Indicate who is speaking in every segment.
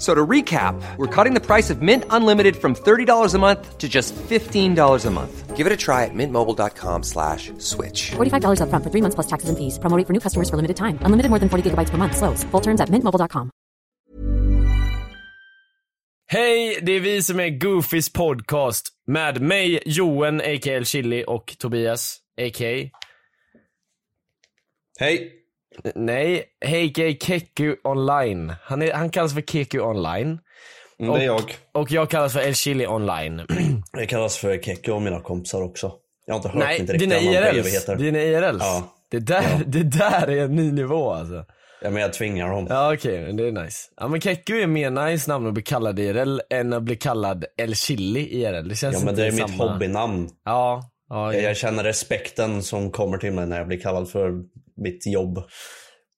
Speaker 1: So to recap, we're cutting the price of Mint Unlimited from $30 a month to just $15 a month. Give it a try at mintmobile.com slash switch.
Speaker 2: $45 upfront for three months plus taxes and fees. Promo rate for new customers for limited time. Unlimited more than 40 gigabytes per month. Slows. Full terms at mintmobile.com.
Speaker 3: Hej, det är vi som är Goofys podcast med mig, Johan, a.k.a. Chili och Tobias, a.k.a.
Speaker 4: Hej!
Speaker 3: Nej, a.k.a. Keku online. Han, är, han kallas för Keku online
Speaker 4: Mm, Det är jag.
Speaker 3: och jag kallas för El Chili online.
Speaker 4: Jag kallas för Kekko av mina kompisar också. Jag har inte hört
Speaker 3: Nej,
Speaker 4: inte riktigt
Speaker 3: dina
Speaker 4: vad man själv
Speaker 3: IRLs.
Speaker 4: heter.
Speaker 3: Dina IRLs.
Speaker 4: Ja.
Speaker 3: Det, där, det där är en ny nivå alltså.
Speaker 4: Ja, men jag tvingar dem.
Speaker 3: Ja okej, men det är nice. Ja men Keku är mer nice namn att bli kallad IRL än att bli kallad El Chili IRL. Det känns
Speaker 4: Ja, men
Speaker 3: inte
Speaker 4: det är mitt
Speaker 3: samma.
Speaker 4: hobbynamn.
Speaker 3: Ja, ja,
Speaker 4: Jag känner respekten som kommer till mig när jag blir kallad för mitt jobb.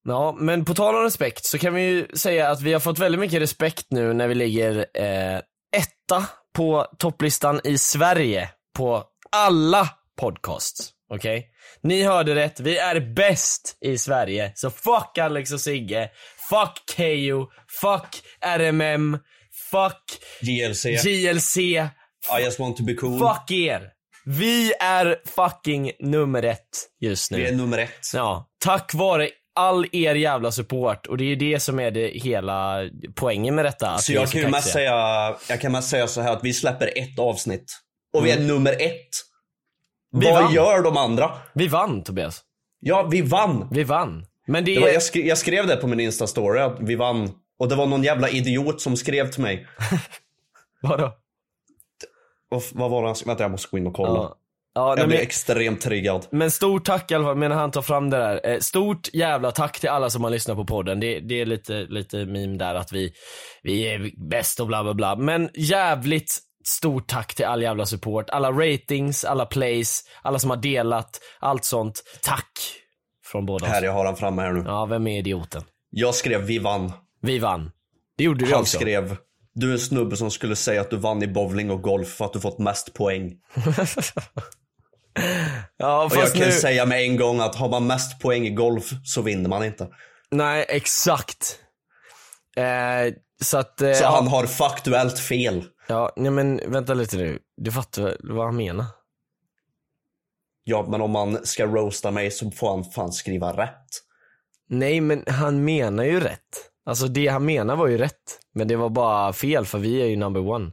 Speaker 3: Ja, men på tal om respekt så kan vi ju säga att vi har fått väldigt mycket respekt nu när vi ligger eh, etta på topplistan i Sverige på alla podcasts. Okej? Ni hörde rätt, vi är bäst i Sverige. Så fuck Alex och Sigge, fuck Keyyo, fuck RMM, fuck
Speaker 4: JLC.
Speaker 3: JLC,
Speaker 4: I just want to be cool.
Speaker 3: fuck er. Vi är fucking nummer ett just nu.
Speaker 4: Vi är nummer ett.
Speaker 3: Ja, tack vare all er jävla support och det är ju det som är det hela poängen med detta. att
Speaker 4: Så
Speaker 3: vi är
Speaker 4: jag kan, ju mest
Speaker 3: kaxiga.
Speaker 4: säga, jag kan mest säga så här att vi släpper ett avsnitt. Och vi är nummer ett.
Speaker 3: Mm. Vi
Speaker 4: Vad
Speaker 3: vann.
Speaker 4: gör de andra?
Speaker 3: Vi vann Tobias.
Speaker 4: Ja, vi vann.
Speaker 3: Vi vann. Men det,
Speaker 4: Det var,
Speaker 3: är...
Speaker 4: jag, skrev, jag skrev det på min Insta-story, att vi vann. Och det var någon jävla idiot som skrev till mig.
Speaker 3: Vadå?
Speaker 4: Vad, vad var det han skrev? Vänta, jag måste gå in och kolla.
Speaker 3: Ja. Ja, nej,
Speaker 4: Jag blir
Speaker 3: men,
Speaker 4: extremt triggad.
Speaker 3: men stort tack i alla fall, men när han tar fram det där. Eh, Stort jävla tack till alla som har lyssnat på podden. Det, det är lite, lite meme där att vi, vi är bäst och bla bla bla. Men jävligt stort tack till all jävla support. Alla ratings, alla plays, alla som har delat, allt sånt. Tack! Från båda oss.
Speaker 4: Här, jag har han framme här nu.
Speaker 3: Ja, vem är idioten?
Speaker 4: Jag skrev vi vann.
Speaker 3: Vi vann. Det gjorde vi
Speaker 4: Han
Speaker 3: också.
Speaker 4: skrev du är en snubbe som skulle säga att du vann i bowling och golf för att du fått mest poäng.
Speaker 3: Ja,
Speaker 4: Och jag
Speaker 3: fast
Speaker 4: kan
Speaker 3: nu...
Speaker 4: säga med en gång att har man mest poäng i golf så vinner man inte.
Speaker 3: Nej, exakt. Eh, så att... Eh,
Speaker 4: Så
Speaker 3: ja,
Speaker 4: han har faktuellt fel.
Speaker 3: ja, nej men vänta lite nu. Du fattar väl vad han menar?
Speaker 4: Ja, men om man ska roasta mig så får han fan skriva rätt.
Speaker 3: Nej, men han menar ju rätt. Alltså det han menar var ju rätt. Men det var bara fel för vi är ju number one.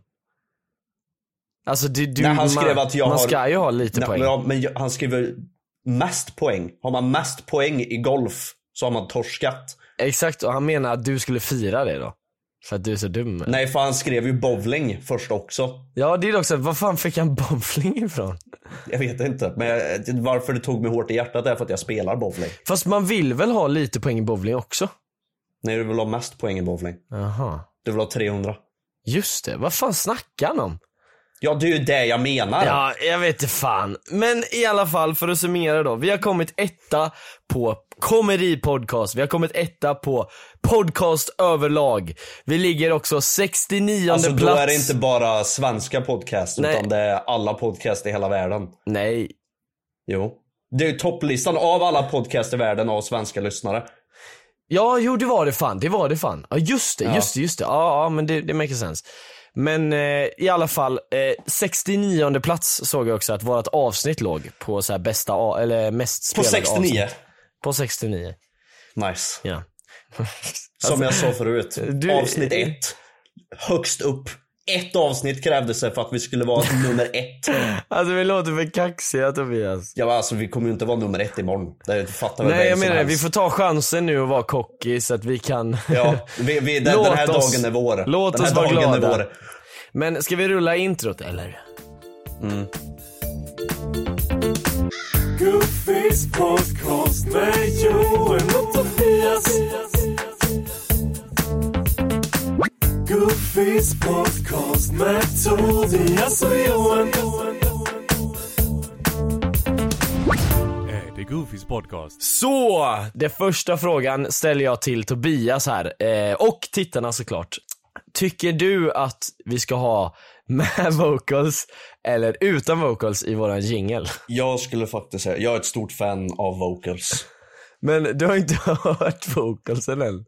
Speaker 3: Alltså du, du
Speaker 4: Nej, han
Speaker 3: man,
Speaker 4: skrev att jag
Speaker 3: man
Speaker 4: har-
Speaker 3: ska ju ha lite
Speaker 4: Nej,
Speaker 3: poäng.
Speaker 4: men, ja, men jag- han skriver mest poäng. Har man mest poäng i golf så har man torskat.
Speaker 3: Exakt, och han menar att du skulle fira det då. För att du är så dum.
Speaker 4: Nej, för han skrev ju bowling först också.
Speaker 3: Ja, det är också, var fan fick han bowling ifrån?
Speaker 4: Jag vet inte. Men jag, varför det tog mig hårt i hjärtat är för att jag spelar bowling.
Speaker 3: Fast man vill väl ha lite poäng i bowling också?
Speaker 4: Nej, du vill ha mest poäng i bowling.
Speaker 3: Jaha.
Speaker 4: Du vill ha 300.
Speaker 3: Just det, vad fan snackar han om?
Speaker 4: Ja, det är ju det jag menar.
Speaker 3: Ja, jag vet inte fan. Men i alla fall, för att summera då. Vi har kommit etta på komedipodcast, vi har kommit etta på podcast överlag. Vi ligger också 69
Speaker 4: alltså,
Speaker 3: plats.
Speaker 4: då är det inte bara svenska podcast,
Speaker 3: Nej.
Speaker 4: utan det är alla podcast i hela världen.
Speaker 3: Nej,
Speaker 4: Jo. Det är ju topplistan av alla podcast i världen av svenska lyssnare.
Speaker 3: Ja, jo det var det fan. Det var det fan. Ja, just det,
Speaker 4: Ja.
Speaker 3: just det, just det. Ja, ja men det, det makes sense. Men eh, i alla fall, eh, 69 plats såg jag också att vårt avsnitt låg på så här bästa, a- eller mest
Speaker 4: På
Speaker 3: spelade avsnitt.
Speaker 4: 69.
Speaker 3: På 69.
Speaker 4: Nice.
Speaker 3: Ja.
Speaker 4: Som jag sa förut,
Speaker 3: du-
Speaker 4: avsnitt ett. Högst upp. Ett avsnitt krävdes det för att vi skulle vara nummer ett.
Speaker 3: Alltså vi låter för kaxiga Tobias.
Speaker 4: Ja, men alltså, vi kommer ju inte vara nummer ett imorgon. Det fattar väl
Speaker 3: Nej
Speaker 4: vem
Speaker 3: jag
Speaker 4: som
Speaker 3: menar det, vi
Speaker 4: helst.
Speaker 3: får ta chansen nu och vara cocky så att vi kan
Speaker 4: Ja, vi, vi, den, den här
Speaker 3: Låt oss-
Speaker 4: dagen är vår.
Speaker 3: låt
Speaker 4: den här
Speaker 3: oss vara
Speaker 4: dagen
Speaker 3: glada.
Speaker 4: Är vår.
Speaker 3: Men ska vi rulla introt eller?
Speaker 5: Gubbfix podcast med Joel och Tobias. Gubbfix podcast med Tobias och Johan. Det är Goofies podcast.
Speaker 3: Så! Den första frågan ställer jag till Tobias här, eh, och tittarna såklart. Tycker du att vi ska ha med vocals eller utan vocals i våran jingle?
Speaker 4: Jag skulle faktiskt säga, jag är ett stort fan av vocals.
Speaker 3: Men du har inte hört vocalsen än?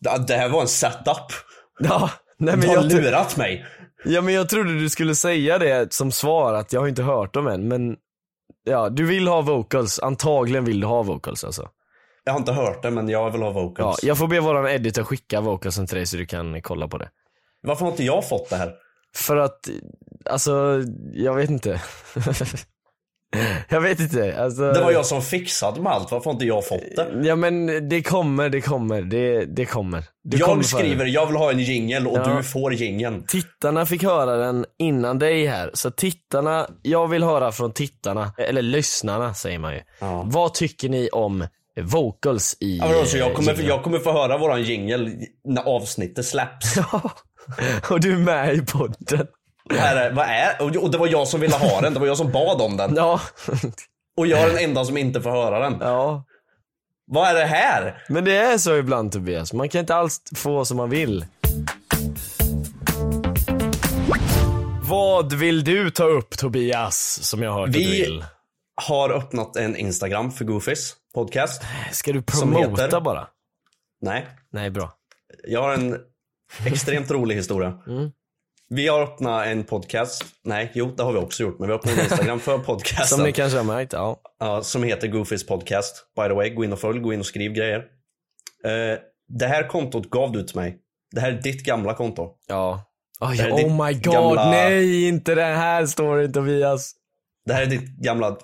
Speaker 4: Det- Det här var en setup.
Speaker 3: Ja, nej
Speaker 4: Du
Speaker 3: men
Speaker 4: har
Speaker 3: jag, tro-
Speaker 4: lurat mig.
Speaker 3: ja, men jag trodde du skulle säga det som svar, att jag har inte hört dem än, men ja, du vill ha vocals, antagligen vill du ha vocals alltså.
Speaker 4: Jag har inte hört det, men jag vill ha
Speaker 3: Ja,
Speaker 4: vocals.
Speaker 3: jag får be våran editor skicka vocalsen till dig så du kan kolla på det.
Speaker 4: Varför har inte jag fått det här?
Speaker 3: För att, alltså, jag vet inte. jag vet inte, alltså.
Speaker 4: Det var jag som fixade med allt, varför har inte jag fått det?
Speaker 3: Ja men det kommer, det kommer, det, det kommer. Du kommer
Speaker 4: jag
Speaker 3: få höra
Speaker 4: skriver,
Speaker 3: den.
Speaker 4: jag vill ha en jingel och
Speaker 3: Ja.
Speaker 4: du får jingeln.
Speaker 3: Tittarna fick höra den innan dig här, så tittarna, jag vill höra från tittarna, eller lyssnarna säger man ju.
Speaker 4: Ja.
Speaker 3: Vad tycker ni om vocals i...
Speaker 4: Ja, men alltså, jag,
Speaker 3: eh,
Speaker 4: kommer,
Speaker 3: jingeln?
Speaker 4: jag kommer få höra våran jingel när avsnittet släpps.
Speaker 3: Och du är med i podden.
Speaker 4: Det här är, vad är, och- och det var jag som ville ha den, det var jag som bad om den.
Speaker 3: Ja,
Speaker 4: Och jag är den enda som inte får höra den.
Speaker 3: ja.
Speaker 4: Vad är det här?
Speaker 3: Men det är så ibland Tobias, man kan inte alls få som man vill. Vad vill du ta upp Tobias, som jag har hört att du
Speaker 4: Vi-
Speaker 3: vill?
Speaker 4: Har öppnat en Instagram för Goofies podcast.
Speaker 3: Ska du
Speaker 4: som
Speaker 3: promota
Speaker 4: heter-
Speaker 3: bara?
Speaker 4: Nej,
Speaker 3: Nej, bra.
Speaker 4: jag har en extremt rolig historia.
Speaker 3: Mm.
Speaker 4: Vi har öppnat en podcast. Nej, jo det har vi också gjort. Men vi har öppnat en Instagram för podcasten.
Speaker 3: Som ni kanske har märkt, ja.
Speaker 4: Ja, som heter Goofies podcast. By the way, gå in och följ, gå in och skriv grejer. Eh, det här kontot gav du till mig. Det här är ditt gamla konto.
Speaker 3: Ja. Oj,
Speaker 4: Det här är ditt
Speaker 3: oh my god,
Speaker 4: gamla-
Speaker 3: nej inte den här storyn Tobias.
Speaker 4: Det här är ditt gamla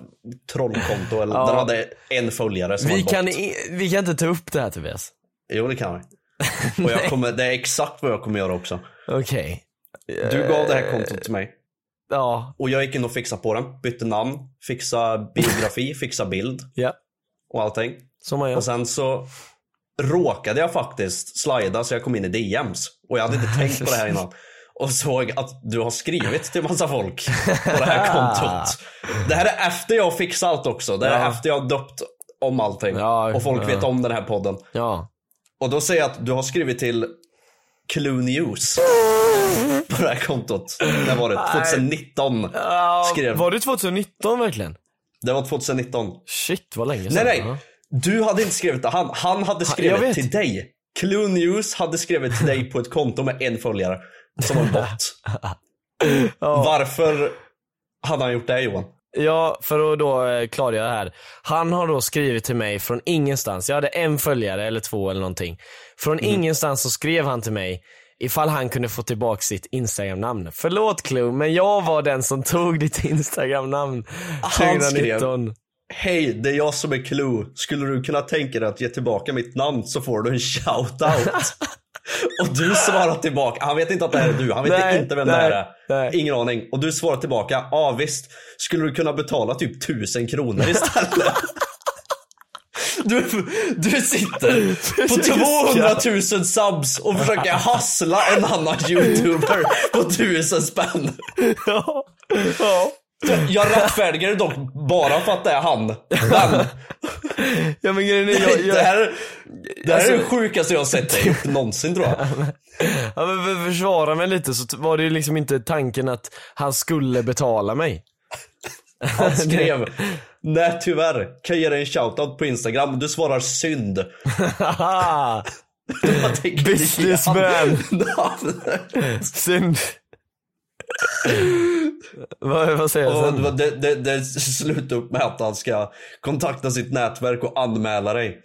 Speaker 4: trollkonto. Eller,
Speaker 3: Ja.
Speaker 4: Den hade en följare som
Speaker 3: Vi
Speaker 4: var
Speaker 3: kan,
Speaker 4: bort.
Speaker 3: i- vi kan inte ta upp det här Tobias.
Speaker 4: Jo, det kan vi. Och jag kommer, det är exakt vad jag kommer göra också.
Speaker 3: Okej.
Speaker 4: Du gav det här kontot till mig.
Speaker 3: Ja,
Speaker 4: Och jag gick in och fixade på den. Bytte namn, fixade biografi, fixade bild
Speaker 3: ja.
Speaker 4: och allting.
Speaker 3: Som man gör.
Speaker 4: Och sen så råkade jag faktiskt slida så jag kom in i DMs. Och jag hade inte tänkt på det här innan. Och såg att du har skrivit till massa folk på det här kontot. Det här är efter jag har fixat allt också. Det här är
Speaker 3: Ja.
Speaker 4: efter jag har döpt om allting.
Speaker 3: Ja,
Speaker 4: och folk
Speaker 3: ja.
Speaker 4: vet om den här podden.
Speaker 3: Ja.
Speaker 4: Och då säger jag att du har skrivit till Clue News på det här kontot. När var det? 2019 skrev.
Speaker 3: Var det 2019 verkligen?
Speaker 4: Det var 2019.
Speaker 3: Shit vad länge
Speaker 4: Nej
Speaker 3: sedan.
Speaker 4: nej,
Speaker 3: Ja.
Speaker 4: du hade inte skrivit till han. Han hade
Speaker 3: jag
Speaker 4: skrivit
Speaker 3: vet.
Speaker 4: till dig. Clue News hade skrivit till dig på ett konto med en följare. Som en bot. Varför hade han gjort det Johan?
Speaker 3: Ja, för att då eh, klargöra det här. Han har då skrivit till mig från ingenstans. Jag hade en följare eller två eller någonting. Från
Speaker 4: Mm.
Speaker 3: ingenstans så skrev han till mig ifall han kunde få tillbaka sitt Instagram-namn. Förlåt Clue, men jag var den som tog ditt Instagram-namn
Speaker 4: Han skrev.
Speaker 3: 2019.
Speaker 4: Hej, det är jag som är Clue. Skulle du kunna tänka dig att ge tillbaka mitt namn så får du en shoutout. Och du svarar tillbaka. Han vet inte att det här är du. Han vet
Speaker 3: Nej,
Speaker 4: inte vem
Speaker 3: nej,
Speaker 4: det här är.
Speaker 3: nej.
Speaker 4: Ingen aning. Och du svarar tillbaka. Ja ah, visst. Skulle du kunna betala typ tusen kronor istället? Du, du sitter på 200 000 subs och försöker hassla en annan youtuber på tusen spänn.
Speaker 3: Ja. ja.
Speaker 4: Jag rättfärdigar det dock bara för att det är han. Men
Speaker 3: Ja men grejen är, jag,
Speaker 4: det
Speaker 3: jag,
Speaker 4: här, det här är det
Speaker 3: Alltså-
Speaker 4: sjukaste jag har sett dig gjort någonsin tror jag.
Speaker 3: ja, men för att försvara mig lite så t- var det ju liksom inte tanken att han skulle betala mig.
Speaker 4: Han skrev Nej tyvärr. Kan jag ge dig en shoutout på Instagram? Du svarar synd.
Speaker 3: Haha!
Speaker 4: Vad tänker ni?
Speaker 3: Businessman. Synd. vad, vad säger jag
Speaker 4: Och
Speaker 3: sen?
Speaker 4: det- det, det, det slutar upp med att han ska kontakta sitt nätverk och anmäla dig.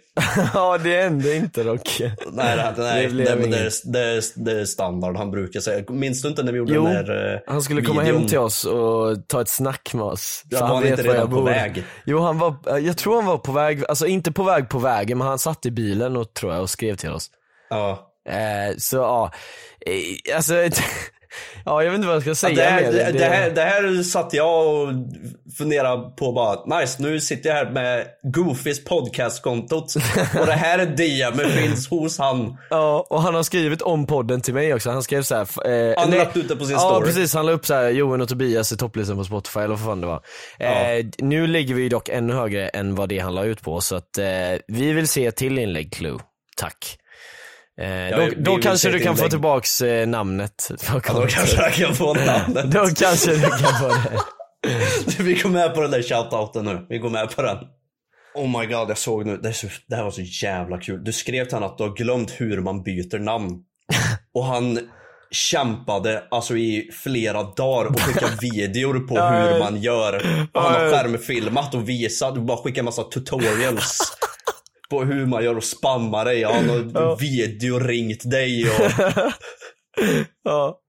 Speaker 3: ja, det hände inte dock.
Speaker 4: Nej, det,
Speaker 3: Det
Speaker 4: nej, det,
Speaker 3: blev
Speaker 4: det, men det,
Speaker 3: inget.
Speaker 4: är, det, är, det är standard han brukar säga. Minns du inte när vi gjorde
Speaker 3: Jo,
Speaker 4: den där eh,
Speaker 3: Han skulle komma
Speaker 4: videon?
Speaker 3: hem till oss och ta ett snack med oss.
Speaker 4: Ja,
Speaker 3: för
Speaker 4: var han
Speaker 3: vet
Speaker 4: inte
Speaker 3: var
Speaker 4: redan
Speaker 3: jag
Speaker 4: på
Speaker 3: bor.
Speaker 4: väg?
Speaker 3: Jo, han var, jag tror han var på väg, alltså inte på väg på vägen, men han satt i bilen och, tror jag och skrev till oss.
Speaker 4: Ja.
Speaker 3: Eh, så ja, eh, alltså, ja jag vet inte vad jag ska säga
Speaker 4: Det här,
Speaker 3: mer.
Speaker 4: det, det, här, det här satt jag och funderade på bara, nice nu sitter jag här med Goofys podcastkontot och det här DMet finns hos han.
Speaker 3: Ja, och han har skrivit om podden till mig också. Han skrev så här. f- Eh,
Speaker 4: Han
Speaker 3: nej-
Speaker 4: lagt ut det på sin
Speaker 3: ja,
Speaker 4: story.
Speaker 3: precis. Han la upp så här, Johan och Tobias är topplistan på Spotify eller vad fan det var. Eh, nu ligger vi dock ännu högre än vad det han la ut på, så att eh, vi vill se ett till inlägg Clue. Tack. Eh, då
Speaker 4: vi
Speaker 3: då
Speaker 4: vill se
Speaker 3: kanske
Speaker 4: ett
Speaker 3: du kan få
Speaker 4: inlägg.
Speaker 3: tillbaks eh, namnet. På
Speaker 4: Då
Speaker 3: kontot.
Speaker 4: kanske jag kan få namnet.
Speaker 3: då kanske du kan få det.
Speaker 4: Vi går med på den där shoutouten nu. Vi går med på den. Oh my god, jag såg nu. Det, är så, det här var så jävla kul. Du skrev till honom att du har glömt hur man byter namn. Och han kämpade alltså i flera dagar och skickade videor på hur man gör. Och han har skärmfilmat och visat och bara skickat en massa tutorials. På hur man gör och spammar dig. Han har videoringt dig och...
Speaker 3: Ja.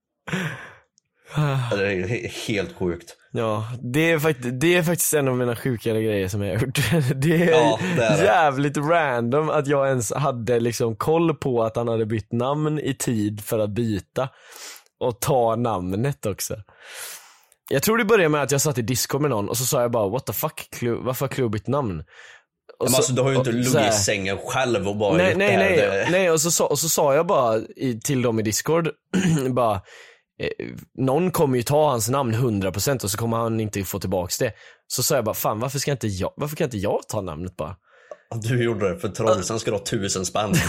Speaker 4: Det är he- helt sjukt.
Speaker 3: Ja, det är, fakt- det är faktiskt en av mina sjukare grejer som jag har gjort. Det är,
Speaker 4: Ja, det är det.
Speaker 3: jävligt random att jag ens hade liksom koll på att han hade bytt namn i tid för att byta. Och ta namnet också. Jag tror det började med att jag satt i Discord med någon och så sa jag bara what the fuck, Clue, varför har Clue bytt namn? Och
Speaker 4: Men
Speaker 3: så-
Speaker 4: alltså, du har ju inte
Speaker 3: och
Speaker 4: legat
Speaker 3: så här-
Speaker 4: i sängen själv och bara
Speaker 3: Nej,
Speaker 4: gjort
Speaker 3: nej,
Speaker 4: det här.
Speaker 3: nej,
Speaker 4: Det-
Speaker 3: nej och, så, sa- och så sa jag bara i, till dem i discord, bara eh, någon kommer ju ta hans namn 100% och så kommer han inte få tillbaks det. Så sa jag bara, fan varför, ska inte jag, varför kan inte jag ta namnet bara?
Speaker 4: Du gjorde det för Trolsen ska du ha tusen spänn.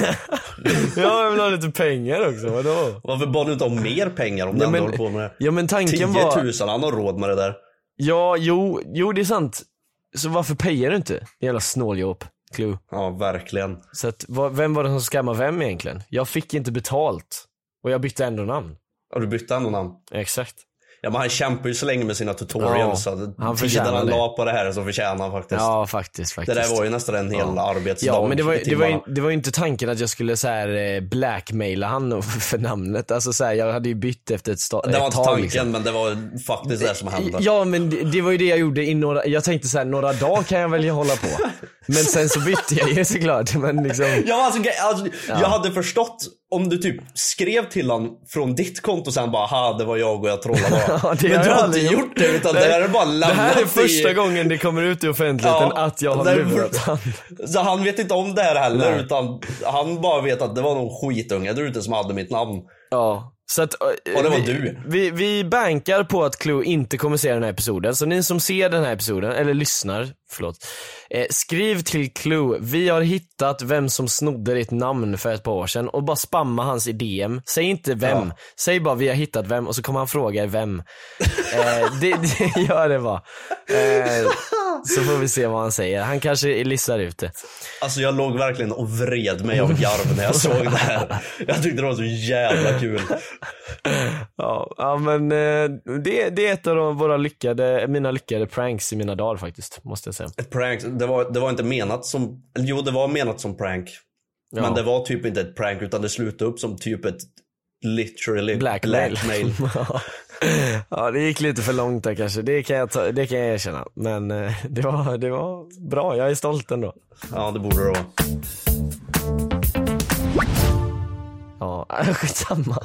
Speaker 3: Ja, jag vill ha lite pengar också, vadå?
Speaker 4: Varför bad du inte om mer pengar om du
Speaker 3: Ja
Speaker 4: ändå
Speaker 3: men,
Speaker 4: håller på med det?
Speaker 3: ja, men tanken
Speaker 4: 10
Speaker 3: var,
Speaker 4: 000, han har råd med det där.
Speaker 3: ja jo, jo det är sant. Så varför pejar du inte? Det jävla snåljåp, Clue.
Speaker 4: Ja, verkligen.
Speaker 3: Så att, vad, vem var det som scammade vem egentligen? Jag fick inte betalt. Och jag bytte ändå namn.
Speaker 4: Har du bytt ändå namn?
Speaker 3: Exakt.
Speaker 4: Ja men han kämpar ju så länge med sina tutorials.
Speaker 3: Ja,
Speaker 4: så
Speaker 3: han
Speaker 4: han
Speaker 3: förtjänar
Speaker 4: tiden han
Speaker 3: det.
Speaker 4: la på det här så förtjänar han faktiskt.
Speaker 3: Ja, faktiskt,
Speaker 4: det
Speaker 3: faktiskt.
Speaker 4: där var ju nästan en hel arbetsdag.
Speaker 3: Ja, men det var,
Speaker 4: i
Speaker 3: det, var ju,
Speaker 4: timmarna.
Speaker 3: det var ju inte tanken att jag skulle så här eh, blackmaila han och- för namnet. Alltså så här, jag hade ju bytt efter ett, sta-
Speaker 4: Det var
Speaker 3: ett
Speaker 4: inte
Speaker 3: tag.
Speaker 4: tanken
Speaker 3: liksom.
Speaker 4: men det var faktiskt det som hände.
Speaker 3: Ja men det, det var ju det jag gjorde i några, jag tänkte så här, några dagar kan jag väl hålla på. Men sen så bytte jag ju såklart. Men liksom,
Speaker 4: Jag, alltså, gre- alltså, jag hade förstått om du typ skrev till honom från ditt konto sen bara ha det var jag och jag trollade bara.
Speaker 3: Ja, det
Speaker 4: men
Speaker 3: har
Speaker 4: du
Speaker 3: jag
Speaker 4: har inte
Speaker 3: aldrig
Speaker 4: gjort det utan det
Speaker 3: Nej,
Speaker 4: här är bara
Speaker 3: det
Speaker 4: lämnat
Speaker 3: här är första
Speaker 4: i...
Speaker 3: gången det kommer ut i offentligheten
Speaker 4: Ja,
Speaker 3: att jag har
Speaker 4: det är-
Speaker 3: lurat han.
Speaker 4: Så han vet inte om det här heller
Speaker 3: Nej.
Speaker 4: utan han bara vet att det var någon skitunge där ute som hade mitt namn.
Speaker 3: Ja. Så att, eh,
Speaker 4: det var
Speaker 3: vi,
Speaker 4: du.
Speaker 3: Vi, vi bankar på att Clue inte kommer se den här episoden, så ni som ser den här episoden, eller lyssnar, förlåt. Eh, skriv till Clue, vi har hittat vem som snodde ditt namn för ett par år sedan och bara spamma hans i DM. Säg inte vem,
Speaker 4: Ja.
Speaker 3: säg bara vi har hittat vem och så kommer han fråga er vem. eh, det, det gör det bara. Eh, så får vi se vad han säger, han kanske listar ut det.
Speaker 4: Alltså jag låg verkligen och vred mig av garv när jag såg det här. Jag tyckte det var så jävla kul.
Speaker 3: Ja, ja men eh, det, det är ett av de- våra lyckade, mina lyckade pranks i mina dagar faktiskt, måste jag säga.
Speaker 4: Ett prank, det var, det var inte menat som, eller jo det var menat som prank.
Speaker 3: Ja.
Speaker 4: Men det var typ inte ett prank utan det slutade upp som typ ett literally
Speaker 3: Blackmail.
Speaker 4: blackmail.
Speaker 3: ja, det gick lite för långt där kanske, det kan jag, ta, det kan jag erkänna. Men eh, det var, det var bra, jag är stolt ändå.
Speaker 4: Ja det borde det vara.
Speaker 3: Ja, skitsamma.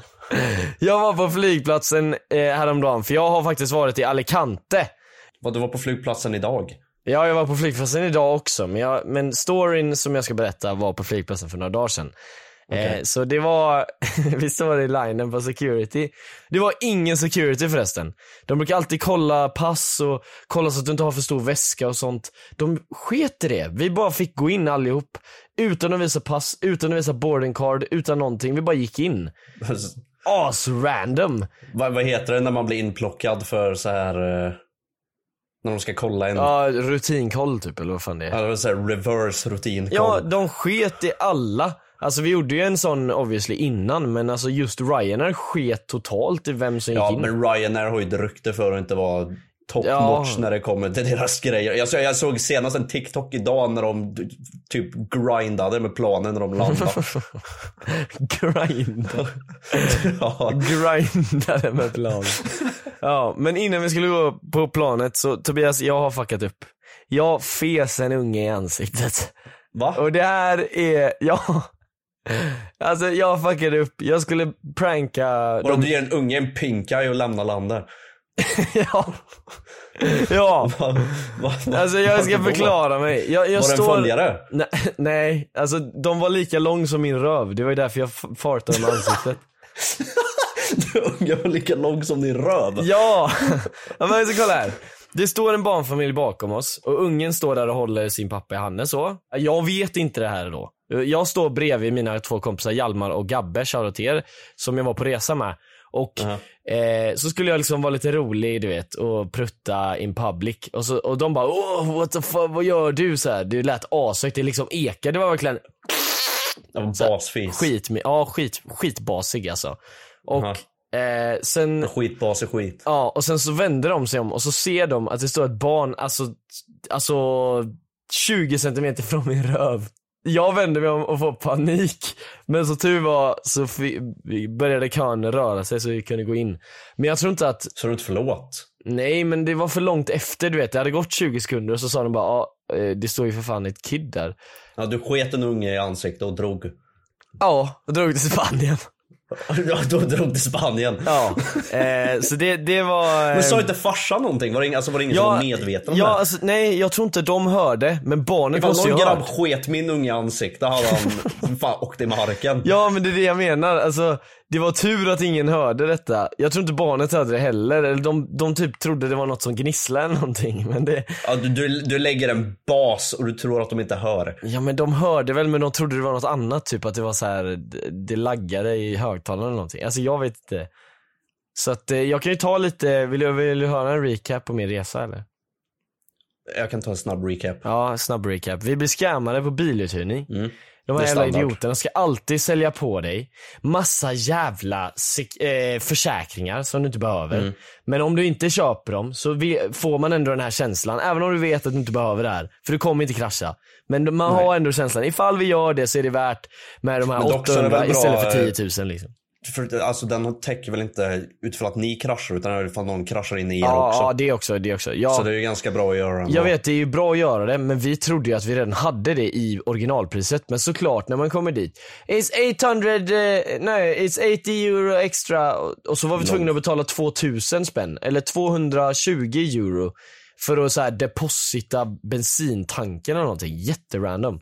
Speaker 3: Jag var på flygplatsen eh, häromdagen, för jag har faktiskt varit i Alicante.
Speaker 4: Vad du var på flygplatsen idag?
Speaker 3: Ja, jag var på flygplatsen idag också, men, jag, men storyn som jag ska berätta var på flygplatsen för några dagar sedan. Eh, så det var, vi står i linen på security. Det var ingen security förresten. De brukar alltid kolla pass och kolla så att du inte har för stor väska och sånt. De sket i det. Vi bara fick gå in allihop. Utan att visa pass, utan att visa boarding card, utan någonting. Vi bara gick in. As random.
Speaker 4: vad, vad heter det när man blir inplockad för så här eh, När de ska kolla en, ja.
Speaker 3: Ja, rutinkoll typ eller vad fan det är.
Speaker 4: det var så här reverse rutin
Speaker 3: Ja, de sket i alla. Alltså vi gjorde ju en sån obviously innan, men alltså just Ryanair sket totalt i vem som gick
Speaker 4: Ja,
Speaker 3: in.
Speaker 4: men Ryanair har ju ett rykte för att inte vara top notch
Speaker 3: Ja.
Speaker 4: när det kommer till deras grejer. Jag, såg- jag såg senast en TikTok idag när de d- typ grindade med planen när de landade.
Speaker 3: Grind.
Speaker 4: ja.
Speaker 3: Grindade med plan. Ja, men innan vi skulle gå på planet så Tobias, jag har fuckat upp. Jag fes en unge i ansiktet.
Speaker 4: Va?
Speaker 3: Och det här är, ja. Alltså jag fuckade upp. Jag skulle pranka
Speaker 4: Vadå, du ger en unge en pink eye och lämnar landet?
Speaker 3: Ja. ja.
Speaker 4: Va, va, va,
Speaker 3: Alltså jag ska
Speaker 4: varför då?
Speaker 3: förklara mig. Jag, jag
Speaker 4: Var det en
Speaker 3: står...
Speaker 4: följare?
Speaker 3: Nej, nej, alltså de var lika lång som min röv. Det var ju därför jag f- fartade med ansiktet.
Speaker 4: Ungen var lika lång som din röv.
Speaker 3: ja! ja men så kolla här. Det står en barnfamilj bakom oss och ungen står där och håller sin pappa i handen så. Jag vet inte det här då. Jag står bredvid mina två kompisar Hjalmar och Gabbe, shoutout till er, som jag var på resa med. Och eh, så skulle jag liksom vara lite rolig du vet och prutta in public. Och, så, och de bara oh, what the fuck, vad gör du? Så här, det lät ashögt, det liksom ekade, det var verkligen
Speaker 4: En Basfis.
Speaker 3: skit, ja, skit, skitbasig alltså. Och eh, sen
Speaker 4: Skitbas är skit.
Speaker 3: Ja, och sen så vänder de sig om och så ser de att det står ett barn, alltså, alltså 20 centimeter från min röv. Jag vände mig om och får panik. Men så tur var så fi- började kön röra sig så vi kunde gå in. Men jag tror inte att,
Speaker 4: Så du inte förlåt?
Speaker 3: nej men det var för långt efter du vet. Det hade gått 20 sekunder och så sa de bara, ah, eh, det står ju för fan ett kid där.
Speaker 4: Ja, du sket en unge i ansiktet och drog.
Speaker 3: Ja, då drog det till Spanien.
Speaker 4: Ja, då drog till Spanien.
Speaker 3: Ja, eh, så det, det var...
Speaker 4: Men sa
Speaker 3: eh,
Speaker 4: inte farsan någonting? Var det, ing- alltså, var det ingen som var medveten om
Speaker 3: ja,
Speaker 4: det?
Speaker 3: alltså, nej jag tror inte de hörde, men barnet
Speaker 4: Ifall
Speaker 3: måste ju
Speaker 4: någon
Speaker 3: ha
Speaker 4: grabb
Speaker 3: hört.
Speaker 4: sket min unge i ansiktet hade han fan åkt i marken.
Speaker 3: Ja men det är det jag menar, alltså det var tur att ingen hörde detta. Jag tror inte barnet hörde det heller, eller de, de typ trodde det var något som gnisslade eller någonting. Men det,
Speaker 4: Ja, du, du, du lägger en bas och du tror att de inte hör.
Speaker 3: ja men de hörde väl men de trodde det var något annat, typ att det var så här, det- det laggade i högtalaren eller någonting. Alltså jag vet inte. Så att eh, jag kan ju ta lite, vill du, vill du höra en recap på min resa eller?
Speaker 4: Jag kan ta en snabb recap.
Speaker 3: Ja, snabb recap. Vi blir scammade på biluthyrning. De
Speaker 4: Mm. Det
Speaker 3: här
Speaker 4: är
Speaker 3: jävla
Speaker 4: standard.
Speaker 3: idioterna ska alltid sälja på dig massa jävla sek- eh, försäkringar som du inte behöver.
Speaker 4: Mm.
Speaker 3: Men om du inte köper dem så vi- får man ändå den här känslan, även om du vet att du inte behöver det här. För du kommer inte krascha. Men man har ändå känslan, ifall vi gör det så är det värt med de
Speaker 4: Men
Speaker 3: här
Speaker 4: dock så är det
Speaker 3: 800
Speaker 4: väl bra, eh,
Speaker 3: istället för 10 000 liksom.
Speaker 4: För, alltså den täcker väl inte utifall att ni kraschar utan ifall någon kraschar in i er
Speaker 3: Ja,
Speaker 4: också.
Speaker 3: ja, det också. Det också. Ja.
Speaker 4: Så det är ju ganska bra att göra ändå.
Speaker 3: Jag vet, det är ju bra att göra det, men vi trodde ju att vi redan hade det i originalpriset. Men såklart, när man kommer dit. It's 800, eh, nej, it's 80 euro extra. Och- Och så var vi tvungna att betala 2000 spänn, eller 220 euro. För att så här deposita bensintanken eller någonting. Jätterandom.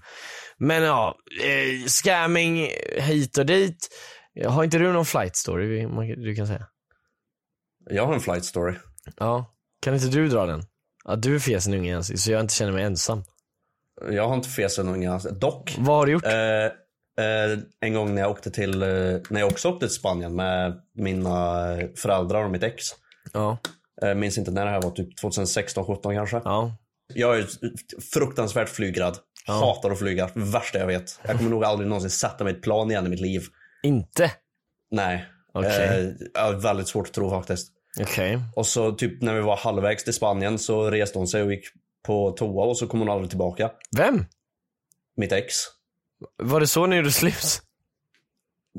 Speaker 3: Men ja, eh, scamming hit och dit. Har inte du någon flight story vi- man- du kan säga?
Speaker 4: Jag har en flight story.
Speaker 3: Ja. Kan inte du dra den? Att du är fesen unge ens, så jag inte känner mig ensam.
Speaker 4: Jag har inte fesen unge alls. Dock.
Speaker 3: Vad har du gjort?
Speaker 4: Eh, eh, en gång när jag åkte till, eh, när jag också åkte till Spanien med mina föräldrar och mitt ex.
Speaker 3: Ja.
Speaker 4: Eh, minns inte när det här var, typ 2016, 17 kanske.
Speaker 3: Ja.
Speaker 4: Jag är fruktansvärt flygrädd. Hatar att flyga. Värsta jag vet. Jag kommer nog aldrig någonsin sätta mig i ett plan igen i mitt liv.
Speaker 3: Inte?
Speaker 4: Nej.
Speaker 3: Okej.
Speaker 4: Eh, jag har väldigt svårt att tro faktiskt.
Speaker 3: Okej.
Speaker 4: Och så typ när vi var halvvägs till Spanien så reste hon sig och gick på toa och så kom hon aldrig tillbaka.
Speaker 3: Vem?
Speaker 4: Mitt ex.
Speaker 3: Var det så ni gjorde slut?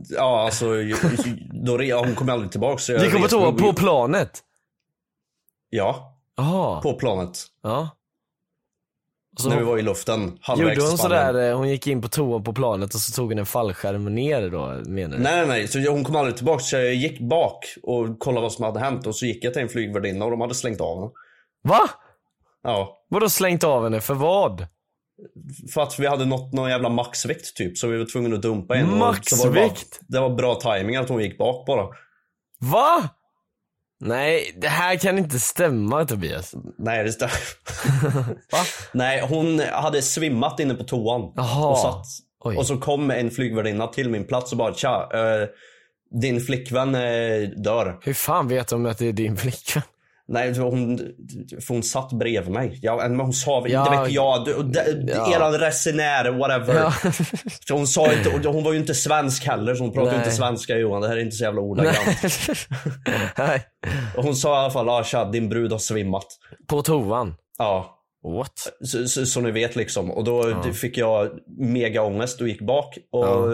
Speaker 4: Ja, alltså ju- ju- då, re- ja, hon kom aldrig tillbaka. Så jag
Speaker 3: Ni kom på
Speaker 4: reste
Speaker 3: toa
Speaker 4: mig-
Speaker 3: på planet?
Speaker 4: Ja,
Speaker 3: Jaha.
Speaker 4: på planet.
Speaker 3: Ja. Och Så
Speaker 4: när vi var i luften halvvägs
Speaker 3: Alltså, gjorde
Speaker 4: till
Speaker 3: hon
Speaker 4: Spanien.
Speaker 3: sådär, eh, hon gick in på toa på planet och så tog hon en fallskärm ner då, menar du?
Speaker 4: Nej, nej, nej. Så jag- hon kom aldrig tillbaka. Så jag gick bak och kollade vad som hade hänt. Och så gick jag till en flygvärdinna och de hade slängt av henne.
Speaker 3: Va?
Speaker 4: Ja,
Speaker 3: Vadå slängt av henne? För vad?
Speaker 4: för att vi hade nått någon jävla maxvikt typ. Så vi var tvungna att dumpa en. Och så var det, bara,
Speaker 3: Maxvikt?
Speaker 4: det var bra timing att hon gick bak bara.
Speaker 3: Va? Nej, det här kan inte stämma Tobias.
Speaker 4: Nej, det stämmer. Nej, hon hade svimmat inne på toan.
Speaker 3: Jaha.
Speaker 4: Och, satt,
Speaker 3: Oj.
Speaker 4: och så kom en flygvärdinna till min plats och bara tja, eh, din flickvän eh, dör.
Speaker 3: Hur fan vet de att det är din flickvän?
Speaker 4: Nej, det var hon, för hon satt bredvid mig. Ja, men hon sa väl,
Speaker 3: Ja.
Speaker 4: inte vet jag, du, de,
Speaker 3: Ja.
Speaker 4: eran resenär, whatever.
Speaker 3: Ja.
Speaker 4: Så Hon sa inte, och hon var ju inte svensk heller, så hon pratade ju
Speaker 3: Nej.
Speaker 4: inte svenska Johan. Det här är inte så jävla ordagrant.
Speaker 3: Nej.
Speaker 4: Och Hon sa i alla fall, ah, tja, din brud har svimmat.
Speaker 3: På toan.
Speaker 4: Ja,
Speaker 3: What?
Speaker 4: så, så, så ni vet liksom. Och då fick jag mega ångest och gick bak. Och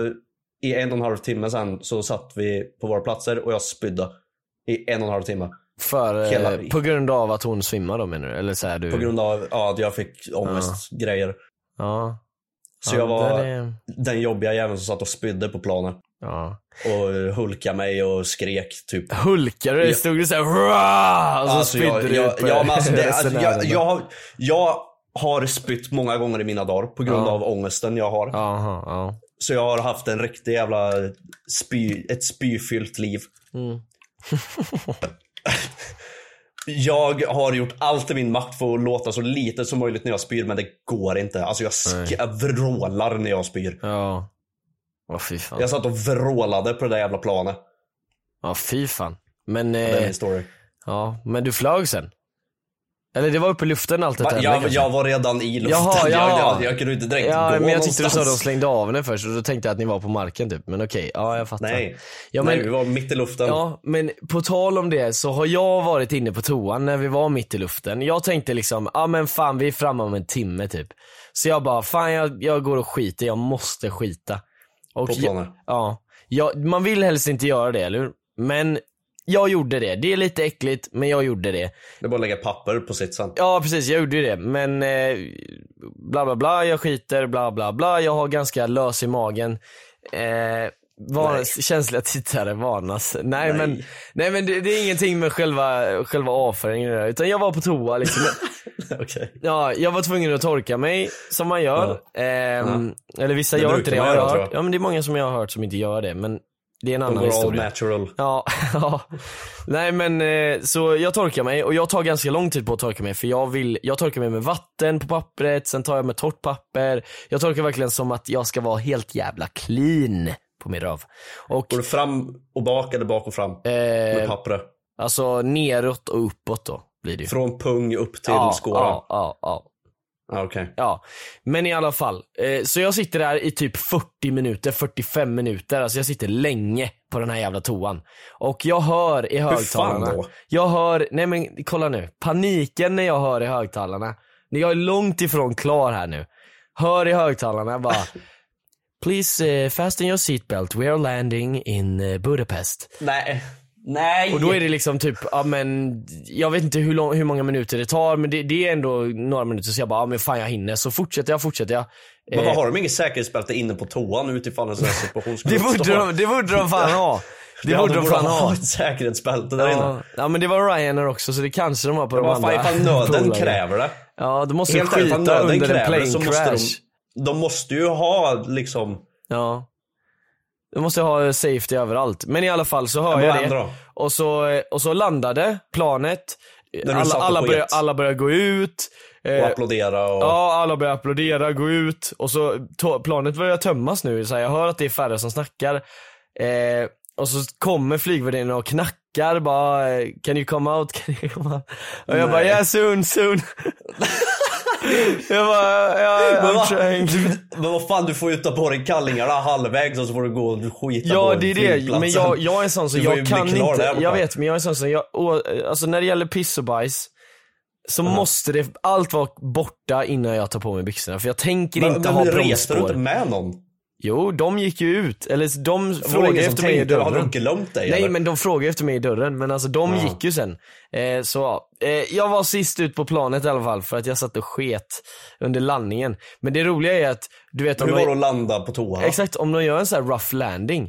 Speaker 4: i en och en halv timme sen så satt vi på våra platser och jag spydde. I en och en halv timme.
Speaker 3: För, eh,
Speaker 4: Hela-
Speaker 3: på grund av att hon svimmar då menar du? Eller så här, du?
Speaker 4: På grund av ja, att jag fick ångestgrejer.
Speaker 3: Ja.
Speaker 4: Så
Speaker 3: Ja,
Speaker 4: jag var
Speaker 3: där är-
Speaker 4: den jobbiga jäveln som satt och spydde på planen.
Speaker 3: Ja.
Speaker 4: Och hulkade mig och skrek typ.
Speaker 3: Hulkade du?
Speaker 4: Ja.
Speaker 3: Stod du såhär "Hurra!" och så
Speaker 4: Alltså,
Speaker 3: spydde
Speaker 4: jag,
Speaker 3: du eh,
Speaker 4: jag,
Speaker 3: på
Speaker 4: ja, men alltså, det, alltså, jag,
Speaker 3: resenärerna?
Speaker 4: jag, har- jag har spytt många gånger i mina dagar på grund
Speaker 3: Ja.
Speaker 4: av ångesten jag har.
Speaker 3: Jaha, ja.
Speaker 4: Så jag har haft en riktig jävla spy, ett spyfyllt liv.
Speaker 3: Mm.
Speaker 4: jag har gjort allt i min makt för att låta så lite som möjligt när jag spyr, men det går inte. Alltså jag, sk- jag vrålar när jag spyr.
Speaker 3: Ja. Åh fy fan.
Speaker 4: Jag satt och vrålade på det där jävla planet.
Speaker 3: Ja fy fan. Men,
Speaker 4: Det är
Speaker 3: eh,
Speaker 4: min story.
Speaker 3: ja, men du flög sen? Eller det var uppe i luften allt det
Speaker 4: Va,
Speaker 3: där?
Speaker 4: jag,
Speaker 3: kanske?
Speaker 4: jag var redan i luften.
Speaker 3: Jaha,
Speaker 4: Jag,
Speaker 3: ja.
Speaker 4: jag, jag kunde inte direkt
Speaker 3: Ja
Speaker 4: gå
Speaker 3: men jag tyckte du
Speaker 4: någonstans.
Speaker 3: sa att de slängde av henne först och då tänkte jag att ni var på marken typ. Men okej, ja jag fattar.
Speaker 4: Nej.
Speaker 3: Ja,
Speaker 4: Nej,
Speaker 3: men-
Speaker 4: vi var mitt i luften.
Speaker 3: Ja, men på tal om det så har jag varit inne på toan när vi var mitt i luften. Jag tänkte liksom, ja ah, men fan vi är framme om en timme typ. Så jag bara, fan jag, jag går och skiter, jag måste skita. Och
Speaker 4: På planen.
Speaker 3: jag- Ja. Jag, man vill helst inte göra det, eller hur? Men jag gjorde det. Det är lite äckligt, men jag gjorde det.
Speaker 4: Det är bara att lägga papper på sitsen.
Speaker 3: Ja precis, jag gjorde ju det. Men eh, bla bla bla, jag skiter, bla bla bla. Jag har ganska lös i magen. Eh, var,
Speaker 4: Nej.
Speaker 3: Känsliga tittare varnas. Nej,
Speaker 4: Nej.
Speaker 3: men, nej, men det, det är ingenting med själva, själva avföringen. i det här, Utan jag var på toa liksom.
Speaker 4: Okej.
Speaker 3: ja, jag var tvungen att torka mig, som man gör. Ehm, Eller vissa
Speaker 4: Det
Speaker 3: gör
Speaker 4: brukar
Speaker 3: inte det,
Speaker 4: man
Speaker 3: har jag
Speaker 4: göra, tror
Speaker 3: hört.
Speaker 4: jag.
Speaker 3: Ja men det är många som jag har hört som inte gör det. Men det är en
Speaker 4: De
Speaker 3: annan
Speaker 4: går all
Speaker 3: historia.
Speaker 4: natural.
Speaker 3: Ja, ja. Nej men eh, så jag torkar mig och jag tar ganska lång tid på att torka mig för jag vill, jag torkar mig med vatten på pappret, sen tar jag med torrt papper. Jag torkar verkligen som att jag ska vara helt jävla clean på min röv. Och
Speaker 4: Går du fram och bak eller bak och fram? Med
Speaker 3: eh,
Speaker 4: pappret.
Speaker 3: alltså neråt och uppåt då blir det ju.
Speaker 4: Från pung upp till
Speaker 3: ja,
Speaker 4: skåran?
Speaker 3: ja, ja, ja.
Speaker 4: Ah, Okej.
Speaker 3: Ja, men i alla fall. Eh, så jag sitter där i typ 40 minuter, 45 minuter. Alltså jag sitter länge på den här jävla toan. Och jag hör i högtalarna.
Speaker 4: fan då?
Speaker 3: Jag hör, nej men kolla nu. Paniken när jag hör i högtalarna. När jag är långt ifrån klar här nu. Hör i högtalarna bara. Please eh, fasten your seatbelt, we are landing in eh, Budapest.
Speaker 4: Nej. Nej.
Speaker 3: Och då är det liksom typ, ja men jag vet inte hur, lång, hur många minuter det tar men det, det är ändå några minuter så jag bara, ja men fan jag hinner. Så fortsätter jag, fortsätter jag.
Speaker 4: Men vad har de inget säkerhetsbälte inne på toan utifall en sån här situation skulle
Speaker 3: Det borde,
Speaker 4: uppstå?
Speaker 3: de, det borde de fan ha. Det
Speaker 4: Ja,
Speaker 3: borde de fan
Speaker 4: ha
Speaker 3: ha.
Speaker 4: ett säkerhetsbälte där
Speaker 3: Ja,
Speaker 4: inne.
Speaker 3: ja men det var Ryanair också så det kanske de har på de
Speaker 4: Vad fan,
Speaker 3: andra.
Speaker 4: ifall nöden
Speaker 3: bolagen.
Speaker 4: kräver det.
Speaker 3: Ja, de måste
Speaker 4: Helt ärligt, ifall
Speaker 3: skita
Speaker 4: nöden
Speaker 3: under en
Speaker 4: kräver det
Speaker 3: plane
Speaker 4: så
Speaker 3: crash.
Speaker 4: måste de... De måste ju ha liksom...
Speaker 3: Ja. Du måste ha eh, safety överallt. Men i alla fall så hör
Speaker 4: men
Speaker 3: jag
Speaker 4: vad
Speaker 3: det.
Speaker 4: händer då?
Speaker 3: Och så, eh, och så landade planet.
Speaker 4: du
Speaker 3: Alla,
Speaker 4: satt på
Speaker 3: alla, börjar,
Speaker 4: jet.
Speaker 3: alla börjar gå ut.
Speaker 4: Och
Speaker 3: Eh,
Speaker 4: applådera och...
Speaker 3: Ja, alla börjar applådera, gå ut och så to- planet börjar tömmas nu. Så här, jag hör att det är färre som snackar. Eh, och så kommer flygvärdinnan och knackar bara, eh, can you come out? Can you come out? Och jag bara, yeah soon, soon. jag bara, yeah,
Speaker 4: Men
Speaker 3: I'm
Speaker 4: vad,
Speaker 3: trying.
Speaker 4: du, men vad fan, du får ju ta på dig kallingarna halvvägs och så får du gå och skita
Speaker 3: Ja
Speaker 4: på
Speaker 3: det är det,
Speaker 4: flygplatsen.
Speaker 3: men jag, jag är en sån som
Speaker 4: Du får
Speaker 3: jag
Speaker 4: ju
Speaker 3: kan
Speaker 4: bli klar där
Speaker 3: inte,
Speaker 4: borta.
Speaker 3: jag vet men jag är en sån som, jag, och, alltså när det gäller piss och bajs så
Speaker 4: Mm.
Speaker 3: måste det, allt vara borta innan jag tar på mig byxorna för jag tänker
Speaker 4: Men,
Speaker 3: inte
Speaker 4: men
Speaker 3: ha
Speaker 4: reste du
Speaker 3: bromsspår.
Speaker 4: inte med någon?
Speaker 3: Jo, de gick ju ut. Eller de
Speaker 4: Var det
Speaker 3: frågade
Speaker 4: ingen som
Speaker 3: efter mig i
Speaker 4: tänkte? Har
Speaker 3: dörren.
Speaker 4: de glömt dig
Speaker 3: Nej
Speaker 4: eller?
Speaker 3: men de frågade efter mig i dörren, men alltså de
Speaker 4: Ja.
Speaker 3: gick ju sen. Eh, så ja. eh, jag var sist ut på planet i alla fall för att jag satt och sket under landningen. Men det roliga är att, du vet om
Speaker 4: Hur
Speaker 3: de,
Speaker 4: var det att landa på toa?
Speaker 3: exakt, om de gör en sån här rough landing,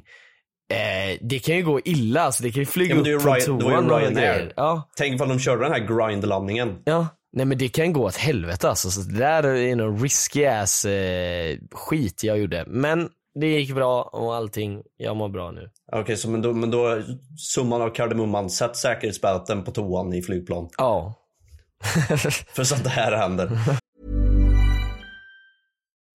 Speaker 3: eh, det kan ju gå illa alltså, det kan ju flyga
Speaker 4: Ja, men
Speaker 3: upp
Speaker 4: det är ju
Speaker 3: från
Speaker 4: Ryan- det var ju
Speaker 3: toan och
Speaker 4: Ryanair.
Speaker 3: grejer. Ja,
Speaker 4: Tänk ifall de körde den här grindlandningen.
Speaker 3: ja. Nej men det kan gå åt helvete alltså, så det där är någon risky ass eh, skit jag gjorde. Men det gick bra och allting, jag mår bra nu.
Speaker 4: Okej, så men då, men då summan av kardemumman, sätt säkerhetsbälten på toan i flygplan.
Speaker 3: Ja.
Speaker 4: För sånt här händer.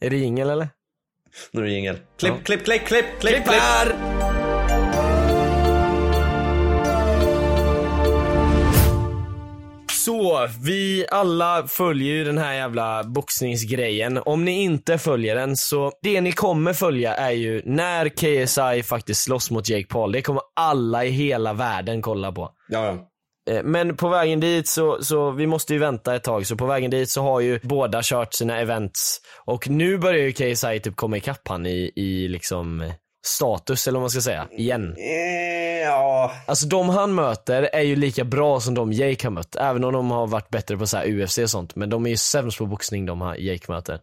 Speaker 3: Är det jingel eller?
Speaker 4: Nu är det jingel. Klipp, klipp, klipp, klipp, klipp, klipp!
Speaker 3: Så, vi alla följer ju den här jävla boxningsgrejen. Om ni inte följer den så, det ni kommer följa är ju när KSI faktiskt slåss mot Jake Paul. Det kommer alla i hela världen kolla på.
Speaker 4: Ja, ja.
Speaker 3: Eh, Men på vägen dit så, så, vi måste ju vänta ett tag, så på vägen dit så har ju båda kört sina events. Och nu börjar ju KSI typ komma ikapp han i, i liksom eh, status, eller vad man ska säga, igen.
Speaker 4: Eh, ja.
Speaker 3: Alltså de han möter är ju lika bra som de Jake har mött, även om de har varit bättre på så här UFC och sånt. Men de är ju sämst på boxning de här Jake möter.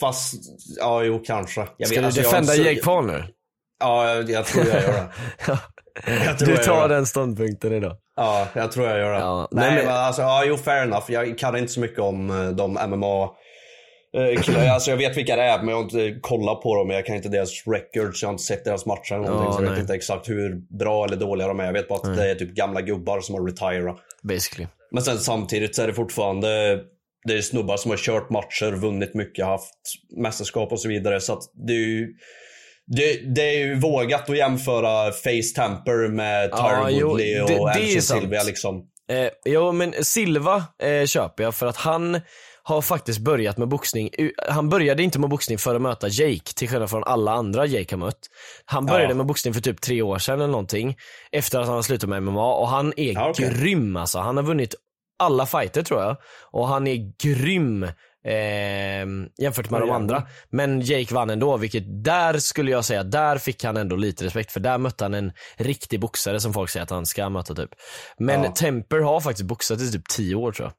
Speaker 4: Fast, ja jo kanske. Jag
Speaker 3: Ska
Speaker 4: vet-
Speaker 3: du
Speaker 4: alltså, jag-
Speaker 3: defenda Jake Paul nu?
Speaker 4: Ja, jag, jag tror jag gör det. Jag tror
Speaker 3: du
Speaker 4: jag
Speaker 3: tar
Speaker 4: gör det.
Speaker 3: den ståndpunkten idag.
Speaker 4: Ja, jag tror jag gör det.
Speaker 3: Ja,
Speaker 4: nej,
Speaker 3: nej, men-
Speaker 4: men alltså, ja, jo fair enough. Jag kan inte så mycket om eh, de MMA eh, killar. Alltså jag vet vilka det är men jag har inte kollat på dem. Jag kan inte deras records, jag har inte sett deras matcher eller någonting. så jag vet
Speaker 3: nej.
Speaker 4: inte exakt hur bra eller dåliga de är. Jag vet bara att det är typ gamla gubbar som har retirat.
Speaker 3: Basically.
Speaker 4: Men sen samtidigt så är det fortfarande det är snubbar som har kört matcher, vunnit mycket, haft mästerskap och så vidare. Så att det är ju det, det är ju vågat att jämföra Face Tamper med
Speaker 3: Ja,
Speaker 4: Tyron
Speaker 3: jo,
Speaker 4: Woodley
Speaker 3: det-
Speaker 4: och
Speaker 3: det är
Speaker 4: Anderson
Speaker 3: sant.
Speaker 4: Silvia liksom.
Speaker 3: Eh, jo men Silva eh, köper jag för att han har faktiskt börjat med boxning. U- Han började inte med boxning för att möta Jake, till skillnad från alla andra Jake har mött. Han började
Speaker 4: Ja.
Speaker 3: med boxning för typ tre år sedan eller någonting, efter att han har slutat med MMA och han är
Speaker 4: Ja, okej.
Speaker 3: grym alltså. Han har vunnit alla fighter tror jag och han är grym eh, jämfört med de andra. Men Jake vann ändå, vilket där skulle jag säga, där fick han ändå lite respekt för där mötte han en riktig boxare som folk säger att han ska möta typ. Men
Speaker 4: Ja.
Speaker 3: Temper har faktiskt boxat i typ 10 år tror jag.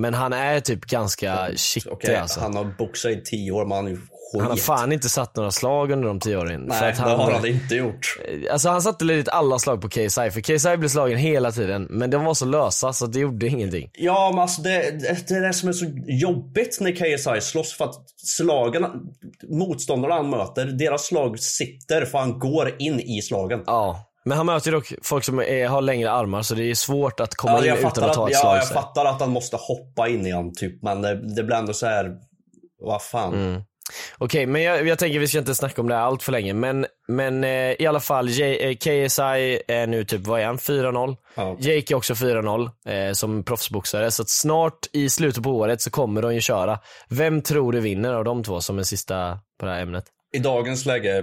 Speaker 3: Men han är typ ganska shitty
Speaker 4: Okej,
Speaker 3: alltså. Han,
Speaker 4: han har boxat i tio år men han är ju skit.
Speaker 3: har fan inte satt några slag under de 10 åren. För
Speaker 4: Nej,
Speaker 3: att
Speaker 4: det har han inte gjort.
Speaker 3: Alltså han satte lite alla slag på KSI, för KSI blev slagen hela tiden. Men de var så lösa så det gjorde ingenting.
Speaker 4: Ja, men alltså det, det är det som är så jobbigt när KSI slåss för att slagen, motståndarna han möter, deras slag sitter för han går in i slagen.
Speaker 3: Ja. Men han möter ju dock folk som är, har längre armar så det är svårt att komma
Speaker 4: Ja, jag
Speaker 3: in utan
Speaker 4: fattar
Speaker 3: att
Speaker 4: att,
Speaker 3: ta ett
Speaker 4: ja,
Speaker 3: slag.
Speaker 4: jag
Speaker 3: så.
Speaker 4: fattar att han måste hoppa in i han typ, men det, det blir ändå så här. Vad fan.
Speaker 3: Mm. Okej, men jag, jag tänker vi ska inte snacka om det här allt för länge. Men, men eh, i alla fall, J, eh, KSI är nu typ, vad är han, 4-0?
Speaker 4: Ja.
Speaker 3: Jake är också 4-0 eh, som proffsboxare. Så att snart i slutet på året så kommer de ju köra. Vem tror du vinner av de två som en sista på det här ämnet?
Speaker 4: I dagens läge,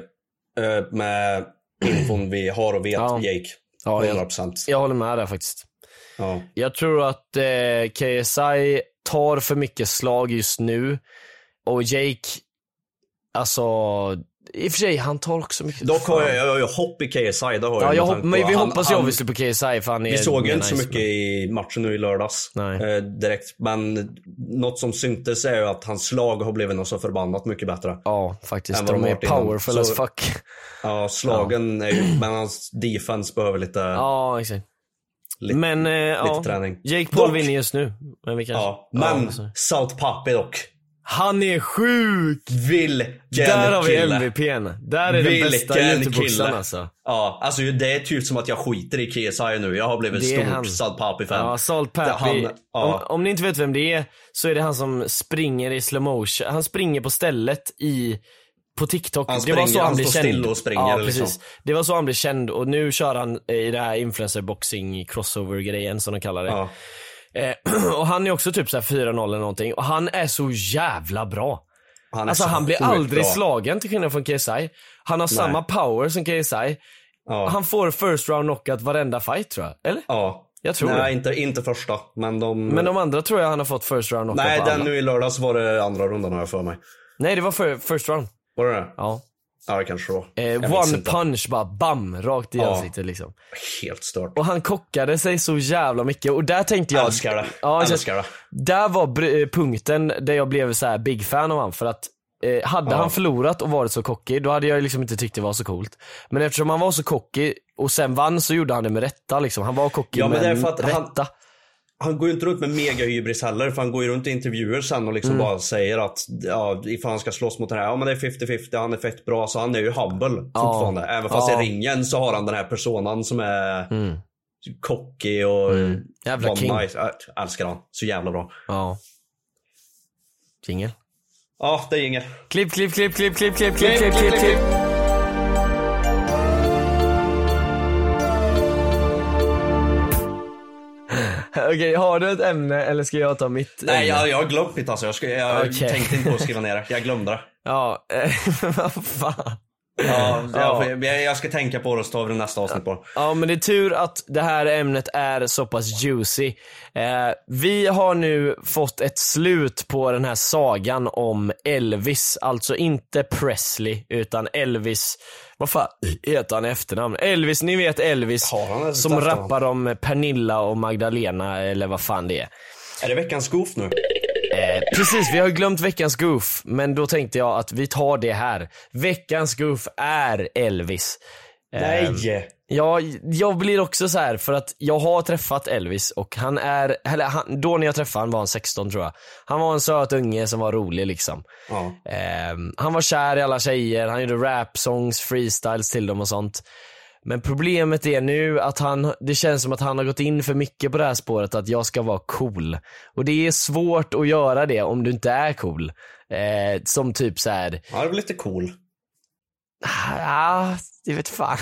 Speaker 4: eh, med infon vi har och vet,
Speaker 3: Ja.
Speaker 4: Jake.
Speaker 3: Ja, jag,
Speaker 4: 100%.
Speaker 3: jag håller med där faktiskt.
Speaker 4: Ja.
Speaker 3: Jag tror att eh, KSI tar för mycket slag just nu. Och Jake, alltså, i och för sig han tar också mycket
Speaker 4: Dock har
Speaker 3: Fan.
Speaker 4: jag, jag har ju hopp i KSI, det har
Speaker 3: Ja, jag
Speaker 4: jag med
Speaker 3: hopp,
Speaker 4: tanke
Speaker 3: men
Speaker 4: på-
Speaker 3: vi
Speaker 4: han-
Speaker 3: hoppas ju
Speaker 4: han-
Speaker 3: obviously på KSI för han är
Speaker 4: Vi såg ju
Speaker 3: mer
Speaker 4: inte så
Speaker 3: nice,
Speaker 4: mycket i matchen nu i lördags.
Speaker 3: Nej.
Speaker 4: Eh, direkt. Men något som syntes är ju att hans slag har blivit något så förbannat mycket bättre.
Speaker 3: Ja, faktiskt.
Speaker 4: än vad
Speaker 3: De
Speaker 4: de
Speaker 3: är
Speaker 4: varit innan.
Speaker 3: powerful
Speaker 4: Så-
Speaker 3: as fuck.
Speaker 4: Ja, slagen är ju... Men hans defense behöver lite,
Speaker 3: Ja, exakt.
Speaker 4: lite,
Speaker 3: Men, eh,
Speaker 4: lite
Speaker 3: ja.
Speaker 4: träning.
Speaker 3: Jake Paul
Speaker 4: Dock-
Speaker 3: vinner just nu. Men vi kanske...
Speaker 4: Ja, men
Speaker 3: så-
Speaker 4: South Puppy dock.
Speaker 3: han är sjuk!
Speaker 4: Vilken
Speaker 3: Där har vi
Speaker 4: kille.
Speaker 3: MVPn. Där är den bästa
Speaker 4: Vilken
Speaker 3: youtube
Speaker 4: kille.
Speaker 3: alltså.
Speaker 4: Ja, alltså det är typ som att jag skiter i KSI nu. Jag har blivit
Speaker 3: Det är
Speaker 4: stor
Speaker 3: han.
Speaker 4: South Puppy-fan.
Speaker 3: Ja, Salt
Speaker 4: Det är
Speaker 3: Pappy.
Speaker 4: han- ja.
Speaker 3: om, om ni inte vet vem det är, så är det han som springer i slow motion. Han springer på stället i på TikTok.
Speaker 4: Han
Speaker 3: det var
Speaker 4: springer,
Speaker 3: så han,
Speaker 4: han
Speaker 3: blev
Speaker 4: står
Speaker 3: känd.
Speaker 4: still och springer,
Speaker 3: ja,
Speaker 4: liksom.
Speaker 3: precis. Det var så han blev känd och nu kör han eh, i det här influencer boxing crossover grejen som de kallar det.
Speaker 4: Ja.
Speaker 3: Eh, och han är också typ så här 4-0 eller någonting och han är så jävla bra.
Speaker 4: Han är
Speaker 3: Alltså
Speaker 4: så
Speaker 3: han blir
Speaker 4: oerhört
Speaker 3: aldrig
Speaker 4: bra.
Speaker 3: slagen till skillnad från KSI. Han har samma power som KSI.
Speaker 4: Ja.
Speaker 3: Han får first round knockout varenda fight tror jag. Eller?
Speaker 4: Ja.
Speaker 3: Jag tror
Speaker 4: Nej,
Speaker 3: det.
Speaker 4: inte, inte första. Men de...
Speaker 3: Men de andra tror jag han har fått first round knockout
Speaker 4: Nej,
Speaker 3: på
Speaker 4: den
Speaker 3: alla.
Speaker 4: nu i lördags var det andra rundan har jag för mig.
Speaker 3: Nej det var för, first round.
Speaker 4: Var det det?
Speaker 3: Ja.
Speaker 4: Ja, det kanske det var. Jag
Speaker 3: Eh,
Speaker 4: minns
Speaker 3: one
Speaker 4: inte.
Speaker 3: punch bara bam, rakt i
Speaker 4: Ja.
Speaker 3: ansiktet liksom.
Speaker 4: Helt stört.
Speaker 3: Och han kockade sig så jävla mycket och där tänkte jag...
Speaker 4: Älskar det.
Speaker 3: Ja, jag-
Speaker 4: Älskar det.
Speaker 3: Där var br- eh, punkten där jag blev så här big fan av han för att eh, hade han förlorat och varit så cocky då hade jag liksom inte tyckt det var så coolt. Men eftersom han var så cocky och sen vann så gjorde han det med rätta liksom. Han var cocky
Speaker 4: Ja, men det är för att han-
Speaker 3: rätta.
Speaker 4: Han går ju inte runt med megahybris heller för han går ju runt i intervjuer sen och liksom
Speaker 3: Mm.
Speaker 4: bara säger att ja, ifall han ska slåss mot den här, ja men det är 50-50, han är fett bra. Så han är ju humble fortfarande. Även fast
Speaker 3: Ja. Mm.
Speaker 4: i ringen så har han den här personan som är cocky och
Speaker 3: Jävla
Speaker 4: bara
Speaker 3: king.
Speaker 4: Nice. Jag älskar han. Så jävla bra.
Speaker 3: Ja. Jingel.
Speaker 4: Ja, det är inget.
Speaker 3: Klipp, klipp, klipp, klipp, klipp, klipp, klipp, klipp, klipp, klipp. Okej, har du ett ämne eller ska jag ta mitt?
Speaker 4: Nej,
Speaker 3: ämne?
Speaker 4: jag, jag har glömt mitt alltså. Jag, ska, jag
Speaker 3: Okej.
Speaker 4: tänkte inte på att skriva ner det. Jag glömde det.
Speaker 3: Ja, eh, vad fan.
Speaker 4: Ja, jag, jag, jag ska tänka på det och så tar vi det nästa avsnitt på.
Speaker 3: Ja men det är tur att det här ämnet är så pass juicy. Eh, vi har nu fått ett slut på den här sagan om Elvis. Alltså inte Presley utan Elvis, vad fan heter han i efternamn? Elvis, ni vet Elvis
Speaker 4: Har han ett
Speaker 3: som
Speaker 4: efternamn?
Speaker 3: rappar om Pernilla och Magdalena eller vad fan det är.
Speaker 4: Är det veckans goof nu?
Speaker 3: Eh, precis, vi har glömt veckans goof, men då tänkte jag att vi tar det här. Veckans goof är Elvis. Eh,
Speaker 4: Nej!
Speaker 3: Ja, jag blir också så här för att jag har träffat Elvis och han är, eller han, då när jag träffade han var han 16 tror jag. Han var en söt unge som var rolig liksom.
Speaker 4: Ja.
Speaker 3: Ehm, han var kär i alla tjejer, han gjorde rap songs, freestyles till dem och sånt. Men problemet är nu att han, det känns som att han har gått in för mycket på det här spåret att jag ska vara cool. Och det är svårt att göra det om du inte är cool. Eh, som typ så här,
Speaker 4: Han är väl lite cool.
Speaker 3: ah, det vet fan.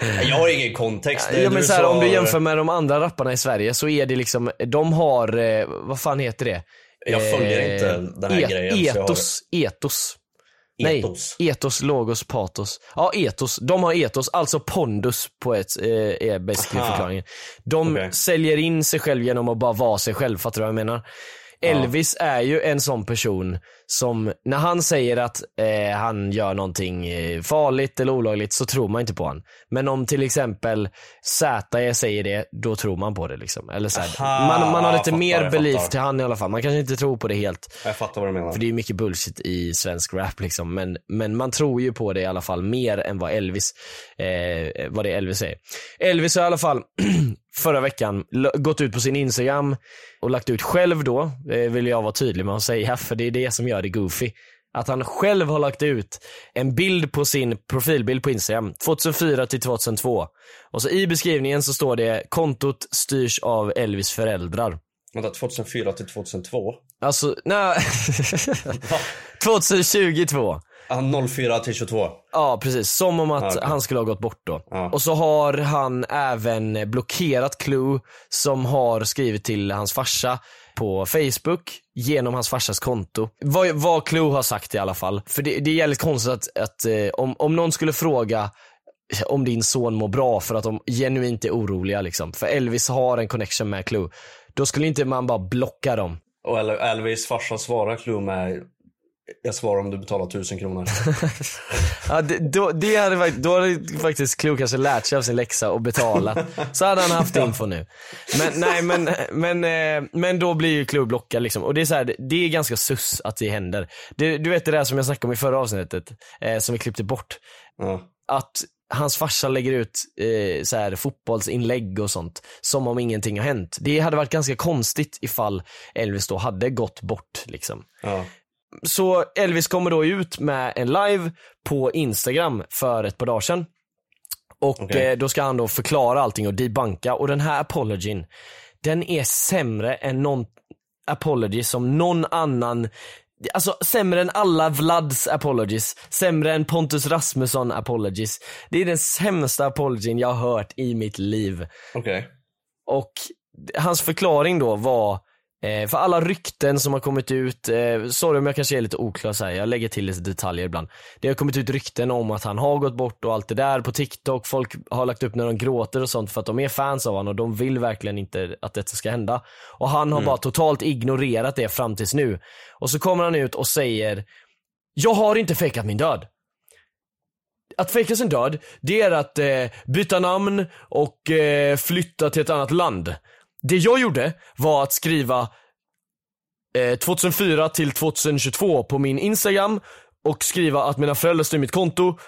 Speaker 4: Nej, Jag har ingen kontext. Det är
Speaker 3: Ja, men så här,
Speaker 4: som
Speaker 3: Om du
Speaker 4: har-
Speaker 3: jämför med de andra rapparna i Sverige så är det liksom, de har, eh, vad fan heter det? Eh,
Speaker 4: Jag följer inte den här grejen, så jag har-
Speaker 3: Etos, etos.
Speaker 4: Etos.
Speaker 3: Nej, e- etos, logos, patos. Ja, etos. De har etos, alltså pondus på ett, eh, är basically
Speaker 4: Aha.
Speaker 3: förklaringen. De
Speaker 4: Okej.
Speaker 3: säljer in sig själv genom att bara vara sig själv, fattar du vad jag menar? Elvis är ju en sån person som, när han säger att eh, han gör någonting eh, farligt eller olagligt så tror man inte på han. Men om till exempel Z säger det, då tror man på det liksom. Eller så här,
Speaker 4: Aha,
Speaker 3: man, man har
Speaker 4: jag
Speaker 3: lite
Speaker 4: fattar,
Speaker 3: mer
Speaker 4: jag
Speaker 3: belief
Speaker 4: fattar.
Speaker 3: till han i alla fall. Man kanske inte tror på det helt.
Speaker 4: Jag fattar vad du menar.
Speaker 3: För det är ju mycket bullshit i svensk rap liksom. Men, men man tror ju på det i alla fall mer än vad Elvis, eh, vad det Elvis säger. Elvis har i alla fall förra veckan l- gått ut på sin Instagram och lagt ut själv då, eh, vill jag vara tydlig med att säga, för det är det som gör det goofy. Att han själv har lagt ut en bild på sin profilbild på Instagram, 2004 till 2002. Och så i beskrivningen så står det kontot styrs av Elvis föräldrar.
Speaker 4: Vänta, 2004 till 2002?
Speaker 3: Alltså, nej. 2022.
Speaker 4: Ah, 04 till 22?
Speaker 3: Ja precis, som om att
Speaker 4: Ja, okej.
Speaker 3: han skulle ha gått bort då.
Speaker 4: Ja.
Speaker 3: Och så har han även blockerat Clue som har skrivit till hans farsa på Facebook genom hans farsas konto. Vad, vad Clue har sagt i alla fall. För det, det är jävligt konstigt att, att eh, om, om någon skulle fråga om din son mår bra för att de genuint är oroliga liksom. För Elvis har en connection med Clue. Då skulle inte man bara blocka dem.
Speaker 4: Och El- Elvis farsa svarar Clue med jag svarar om du betalar 1000 kronor.
Speaker 3: Ja, det, då, det hade, fakt- då hade faktiskt Klo kanske lärt sig av sin läxa och betalat. Så hade han haft info nu. Men, nej, men, men, eh, men då blir ju Klo blockad liksom. Och det är, så här, det- det är ganska sus att det händer. Det, du vet det där som jag snackade om i förra avsnittet, eh, som vi klippte bort.
Speaker 4: Ja.
Speaker 3: Att hans farsa lägger ut eh, så här, fotbollsinlägg och sånt som om ingenting har hänt. Det hade varit ganska konstigt ifall Elvis då hade gått bort liksom.
Speaker 4: Ja.
Speaker 3: Så Elvis kommer då ut med en live på Instagram för ett par dagar sedan. Och
Speaker 4: Okej.
Speaker 3: eh, då ska han då förklara allting och debanka. Och den här apologin, den är sämre än någon apology som någon annan Alltså sämre än alla Vlads apologies, sämre än Pontus Rasmusson apologies. Det är den sämsta apologin jag har hört i mitt liv.
Speaker 4: Okej.
Speaker 3: Och hans förklaring då var Eh, för alla rykten som har kommit ut, eh, sorry om jag kanske är lite oklar så här, jag lägger till lite detaljer ibland. Det har kommit ut rykten om att han har gått bort och allt det där på TikTok, folk har lagt upp när de gråter och sånt för att de är fans av honom och de vill verkligen inte att detta ska hända. Och han har bara totalt ignorerat det fram tills nu. Och så kommer han ut och säger, jag har inte fejkat min död att fejka sin död, det är att eh, byta namn och eh, flytta till ett annat land. Det jag gjorde var att skriva eh, 2004 till 2022 på min Instagram och skriva att mina föräldrar styr mitt konto.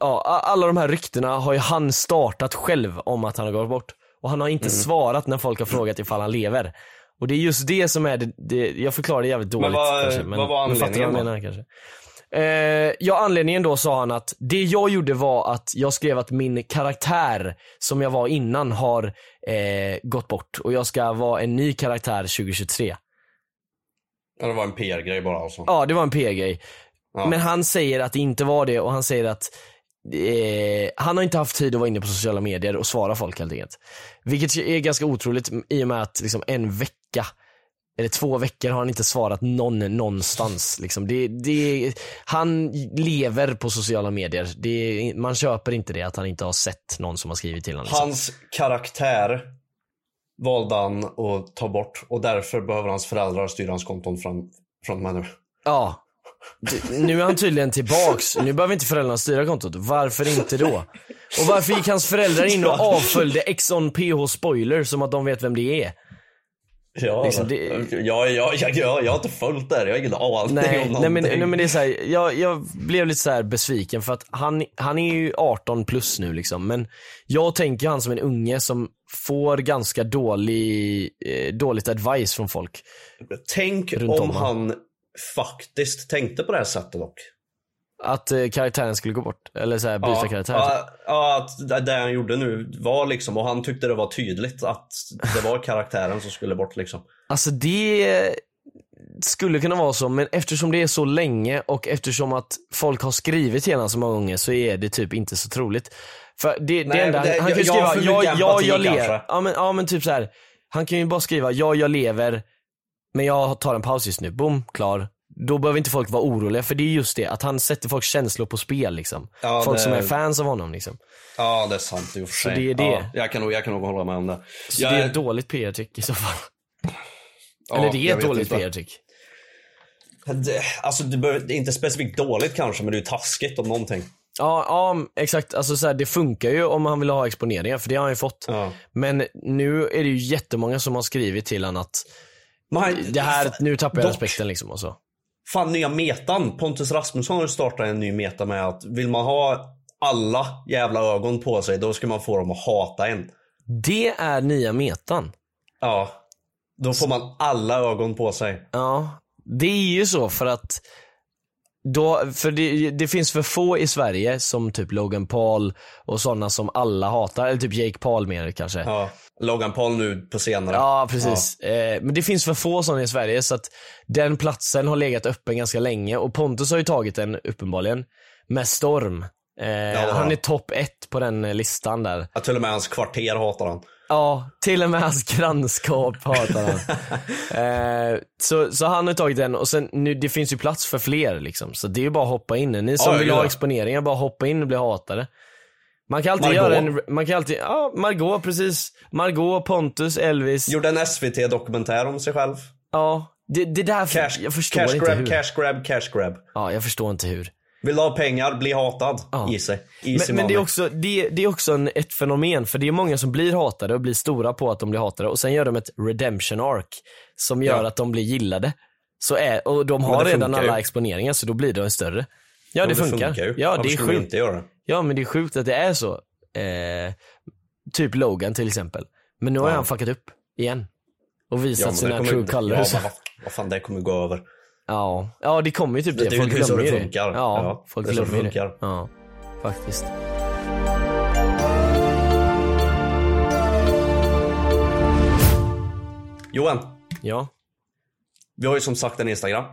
Speaker 3: Ja, a- alla de här ryktena har ju han startat själv om att han har gått bort. Och han har inte
Speaker 4: Mm.
Speaker 3: svarat när folk har frågat ifall han lever. Och det är just det som är det, det jag förklarar det jävligt dåligt
Speaker 4: Men vad-
Speaker 3: kanske. Men
Speaker 4: vad var
Speaker 3: men fattar jag
Speaker 4: anledningen
Speaker 3: menar kanske. Eh, ja, anledningen då sa han att det jag gjorde var att jag skrev att min karaktär som jag var innan har eh, gått bort och jag ska vara en ny karaktär 2023.
Speaker 4: Ja, det var en PR-grej bara alltså.
Speaker 3: Ja, det var en PR-grej.
Speaker 4: Ja.
Speaker 3: Men han säger att det inte var det och han säger att eh, han har inte haft tid att vara inne på sociala medier och svara folk helt enkelt. Vilket är ganska otroligt i och med att liksom en vecka eller två veckor har han inte svarat någon någonstans. Liksom. Det, det, han lever på sociala medier. Det, man köper inte det att han inte har sett någon som har skrivit till honom. Liksom.
Speaker 4: Hans karaktär valde han att ta bort och därför behöver hans föräldrar styra hans konton fram, från mig nu.
Speaker 3: Ja. D- Nu är han tydligen tillbaks. Nu behöver inte föräldrarna styra kontot. Varför inte då? Och varför gick hans föräldrar in och avföljde Exxon PH Spoiler som att de vet vem det är?
Speaker 4: Ja,
Speaker 3: Liksom, det-
Speaker 4: jag, jag, jag, jag, jag har inte följt det här, jag har ingen aning om
Speaker 3: Nej, nej, men,
Speaker 4: någonting.
Speaker 3: nej men det är så här, jag, jag blev lite så här besviken för att han, han är ju 18 plus nu liksom men jag tänker han som en unge som får ganska dålig, eh, dåligt advice från folk.
Speaker 4: Tänk
Speaker 3: Runt
Speaker 4: om
Speaker 3: om, va?
Speaker 4: han faktiskt tänkte på det här sättet dock.
Speaker 3: Att eh, karaktären skulle gå bort, eller så här, byta karaktär. typ.
Speaker 4: ja, ja, att det- det han gjorde nu var liksom, och han tyckte det var tydligt att det var karaktären som skulle bort liksom.
Speaker 3: Alltså det skulle kunna vara så, men eftersom det är så länge och eftersom att folk har skrivit till honom så många gånger så är det typ inte så troligt. För det,
Speaker 4: Nej,
Speaker 3: det enda,
Speaker 4: men det-
Speaker 3: han kan ju
Speaker 4: jag- jag har
Speaker 3: skriva,
Speaker 4: för
Speaker 3: ja,
Speaker 4: mycket
Speaker 3: ja,
Speaker 4: empati
Speaker 3: jag lever.
Speaker 4: kanske.
Speaker 3: Ja men, ja men typ så här. han kan ju bara skriva, ja jag lever, men jag tar en paus just nu, boom, klar. Då behöver inte folk vara oroliga för det är just det, att han sätter folks känslor på spel liksom.
Speaker 4: Ja,
Speaker 3: folk som
Speaker 4: det-
Speaker 3: är fans av honom liksom.
Speaker 4: Ja, det är sant i och för sig.
Speaker 3: det är det.
Speaker 4: Ja, jag, kan nog, jag kan nog hålla med om det.
Speaker 3: Så
Speaker 4: Jag-
Speaker 3: det är ett dåligt PR-trick i så fall.
Speaker 4: ja,
Speaker 3: Eller det
Speaker 4: jag
Speaker 3: är ett
Speaker 4: vet
Speaker 3: dåligt
Speaker 4: inte.
Speaker 3: PR-trick.
Speaker 4: Det, alltså, det, behöver- det är inte specifikt dåligt kanske, men det är ju taskigt om någonting.
Speaker 3: Ja, ja exakt. Alltså, så här, det funkar ju om han vill ha exponeringar, för det har han ju fått.
Speaker 4: Ja.
Speaker 3: Men nu är det ju jättemånga som har skrivit till honom att
Speaker 4: Men han-
Speaker 3: det här, nu tappar jag
Speaker 4: dock,
Speaker 3: respekten liksom och så.
Speaker 4: Fan, nya metan. Pontus Rasmusson har ju startat en ny meta med att vill man ha alla jävla ögon på sig, då ska man få dem att hata en.
Speaker 3: Det är nya metan.
Speaker 4: Ja. Då får man alla ögon på sig.
Speaker 3: Ja, det är ju så för att då, för det, det finns för få i Sverige som typ Logan Paul och sådana som alla hatar, eller typ Jake Paul mer kanske.
Speaker 4: Ja. Logan Paul nu på senare.
Speaker 3: Ja, precis. Eh, men det finns för få sådana i Sverige så att den platsen har legat öppen ganska länge och Pontus har ju tagit den uppenbarligen med storm. Eh,
Speaker 4: ja.
Speaker 3: Han är topp ett på den eh, listan där.
Speaker 4: Ja. Till och med hans kvarter hatar han.
Speaker 3: Ja, till och med hans grannskap hatar han. eh, så, så han har tagit den och sen nu, det finns ju plats för fler liksom. Så det är ju bara att hoppa in. Ni som
Speaker 4: ja,
Speaker 3: vill
Speaker 4: gud,
Speaker 3: ha
Speaker 4: ja.
Speaker 3: exponeringar, bara hoppa in och bli hatade. Man kan alltid
Speaker 4: Margot.
Speaker 3: göra en, man kan alltid, ja Margot precis. Margot, Pontus, Elvis.
Speaker 4: Gjorde en SVT-dokumentär om sig själv.
Speaker 3: Ja, det, det där,
Speaker 4: Cash,
Speaker 3: jag förstår
Speaker 4: cash
Speaker 3: inte
Speaker 4: grab,
Speaker 3: hur.
Speaker 4: cash grab, cash grab.
Speaker 3: Ja, jag förstår inte hur.
Speaker 4: Vill du ha pengar, bli hatad.
Speaker 3: Ja.
Speaker 4: Easy. Easy
Speaker 3: Men, men det är
Speaker 4: money.
Speaker 3: också, det, det är också en, ett fenomen, för det är många som blir hatade och blir stora på att de blir hatade och sen gör de ett redemption arc som gör
Speaker 4: Ja.
Speaker 3: att de blir gillade. Så är, och de
Speaker 4: Men
Speaker 3: har
Speaker 4: det
Speaker 3: redan
Speaker 4: funkar ju.
Speaker 3: alla exponeringar så då blir de större. Ja, det,
Speaker 4: Men
Speaker 3: funkar.
Speaker 4: ju.
Speaker 3: Ja,
Speaker 4: Varför
Speaker 3: det är
Speaker 4: skulle vi
Speaker 3: sjukt.
Speaker 4: inte göra det?
Speaker 3: Ja, men det är sjukt att det är så. Eh, typ Logan till exempel. Men nu har
Speaker 4: Ja.
Speaker 3: han fuckat upp igen. Och visat
Speaker 4: Ja, men det
Speaker 3: sina
Speaker 4: kommer-
Speaker 3: true colors.
Speaker 4: Ja, men vad, vad fan, det kommer gå över.
Speaker 3: Ja, ja det kommer ju typ det.
Speaker 4: Det är
Speaker 3: folk
Speaker 4: ju så
Speaker 3: glömmer
Speaker 4: det
Speaker 3: ju
Speaker 4: funkar.
Speaker 3: Ja,
Speaker 4: Ja,
Speaker 3: folk
Speaker 4: det är så det
Speaker 3: glömmer ju det.
Speaker 4: funkar.
Speaker 3: Ja, faktiskt.
Speaker 4: Johan,
Speaker 3: Ja.
Speaker 4: vi har ju som sagt en Instagram.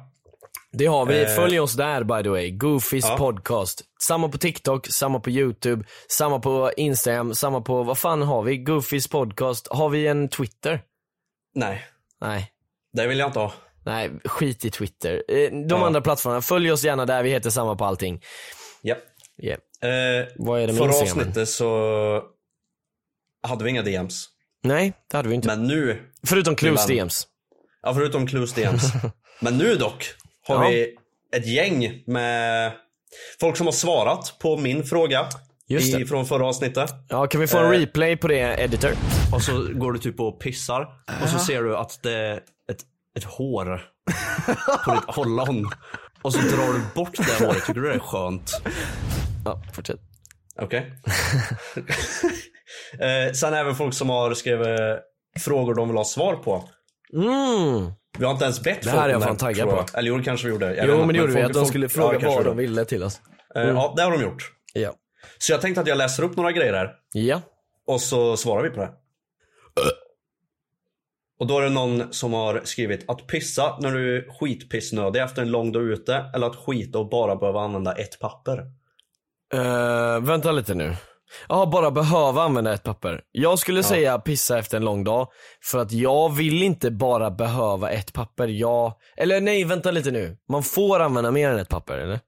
Speaker 3: Det har
Speaker 4: Eh.
Speaker 3: vi. Följ oss där by the way. Goofies podcast. Samma på TikTok, samma på YouTube, samma på Instagram, samma på, vad fan har vi? Goofies podcast. Har vi en Twitter?
Speaker 4: Nej.
Speaker 3: Nej.
Speaker 4: Det vill jag inte ha.
Speaker 3: Nej, skit i Twitter. Eh, De
Speaker 4: Ja.
Speaker 3: andra plattformarna, följ oss gärna där, vi heter samma på allting.
Speaker 4: Ja.
Speaker 3: Yeah.
Speaker 4: Eh,
Speaker 3: Vad är det med
Speaker 4: förra
Speaker 3: Instagramen?
Speaker 4: avsnittet så hade vi inga DMs.
Speaker 3: Nej, det hade vi inte.
Speaker 4: Men nu,
Speaker 3: Förutom Clues
Speaker 4: Men-
Speaker 3: DMs.
Speaker 4: ja, förutom Clues DMs. Men nu dock har
Speaker 3: Ja.
Speaker 4: vi ett gäng med folk som har svarat på min fråga
Speaker 3: Just
Speaker 4: i,
Speaker 3: det.
Speaker 4: från förra avsnittet.
Speaker 3: Ja, kan vi få en
Speaker 4: Eh.
Speaker 3: replay på det, editor?
Speaker 4: Och så går du typ och pissar och
Speaker 3: Äh.
Speaker 4: så ser du att det är ett, ett hår på ditt ollon. Och så drar du bort det håret. Tycker du det är skönt?
Speaker 3: Ja, fortsätt.
Speaker 4: Okej. eh, sen även folk som har skrivit eh, frågor de vill ha svar på.
Speaker 3: Mm.
Speaker 4: Vi har inte ens bett
Speaker 3: Det
Speaker 4: folk
Speaker 3: här är
Speaker 4: om
Speaker 3: jag fan taggad
Speaker 4: tror jag.
Speaker 3: på.
Speaker 4: Eller jo, det kanske vi gjorde. Jag vet
Speaker 3: Jo,
Speaker 4: inte,
Speaker 3: men det gjorde vi.
Speaker 4: folk-
Speaker 3: Att de
Speaker 4: folk-
Speaker 3: skulle
Speaker 4: ja,
Speaker 3: fråga
Speaker 4: kanske
Speaker 3: vad
Speaker 4: vi
Speaker 3: de
Speaker 4: gjorde.
Speaker 3: ville till oss.
Speaker 4: Eh, Ja, det har de gjort.
Speaker 3: Ja.
Speaker 4: Så jag tänkte att jag läser upp några grejer här.
Speaker 3: Ja.
Speaker 4: Och så svarar vi på det. Och då är det någon som har skrivit att pissa när du är skitpissnödig efter en lång dag ute eller att skita och bara behöva använda ett papper.
Speaker 3: Eh, vänta lite nu. Ja, bara behöva använda ett papper. Jag skulle säga pissa efter en lång dag, för att jag vill inte bara behöva ett papper. Jag... Eller nej, vänta lite nu. Man får använda mer än ett papper, eller?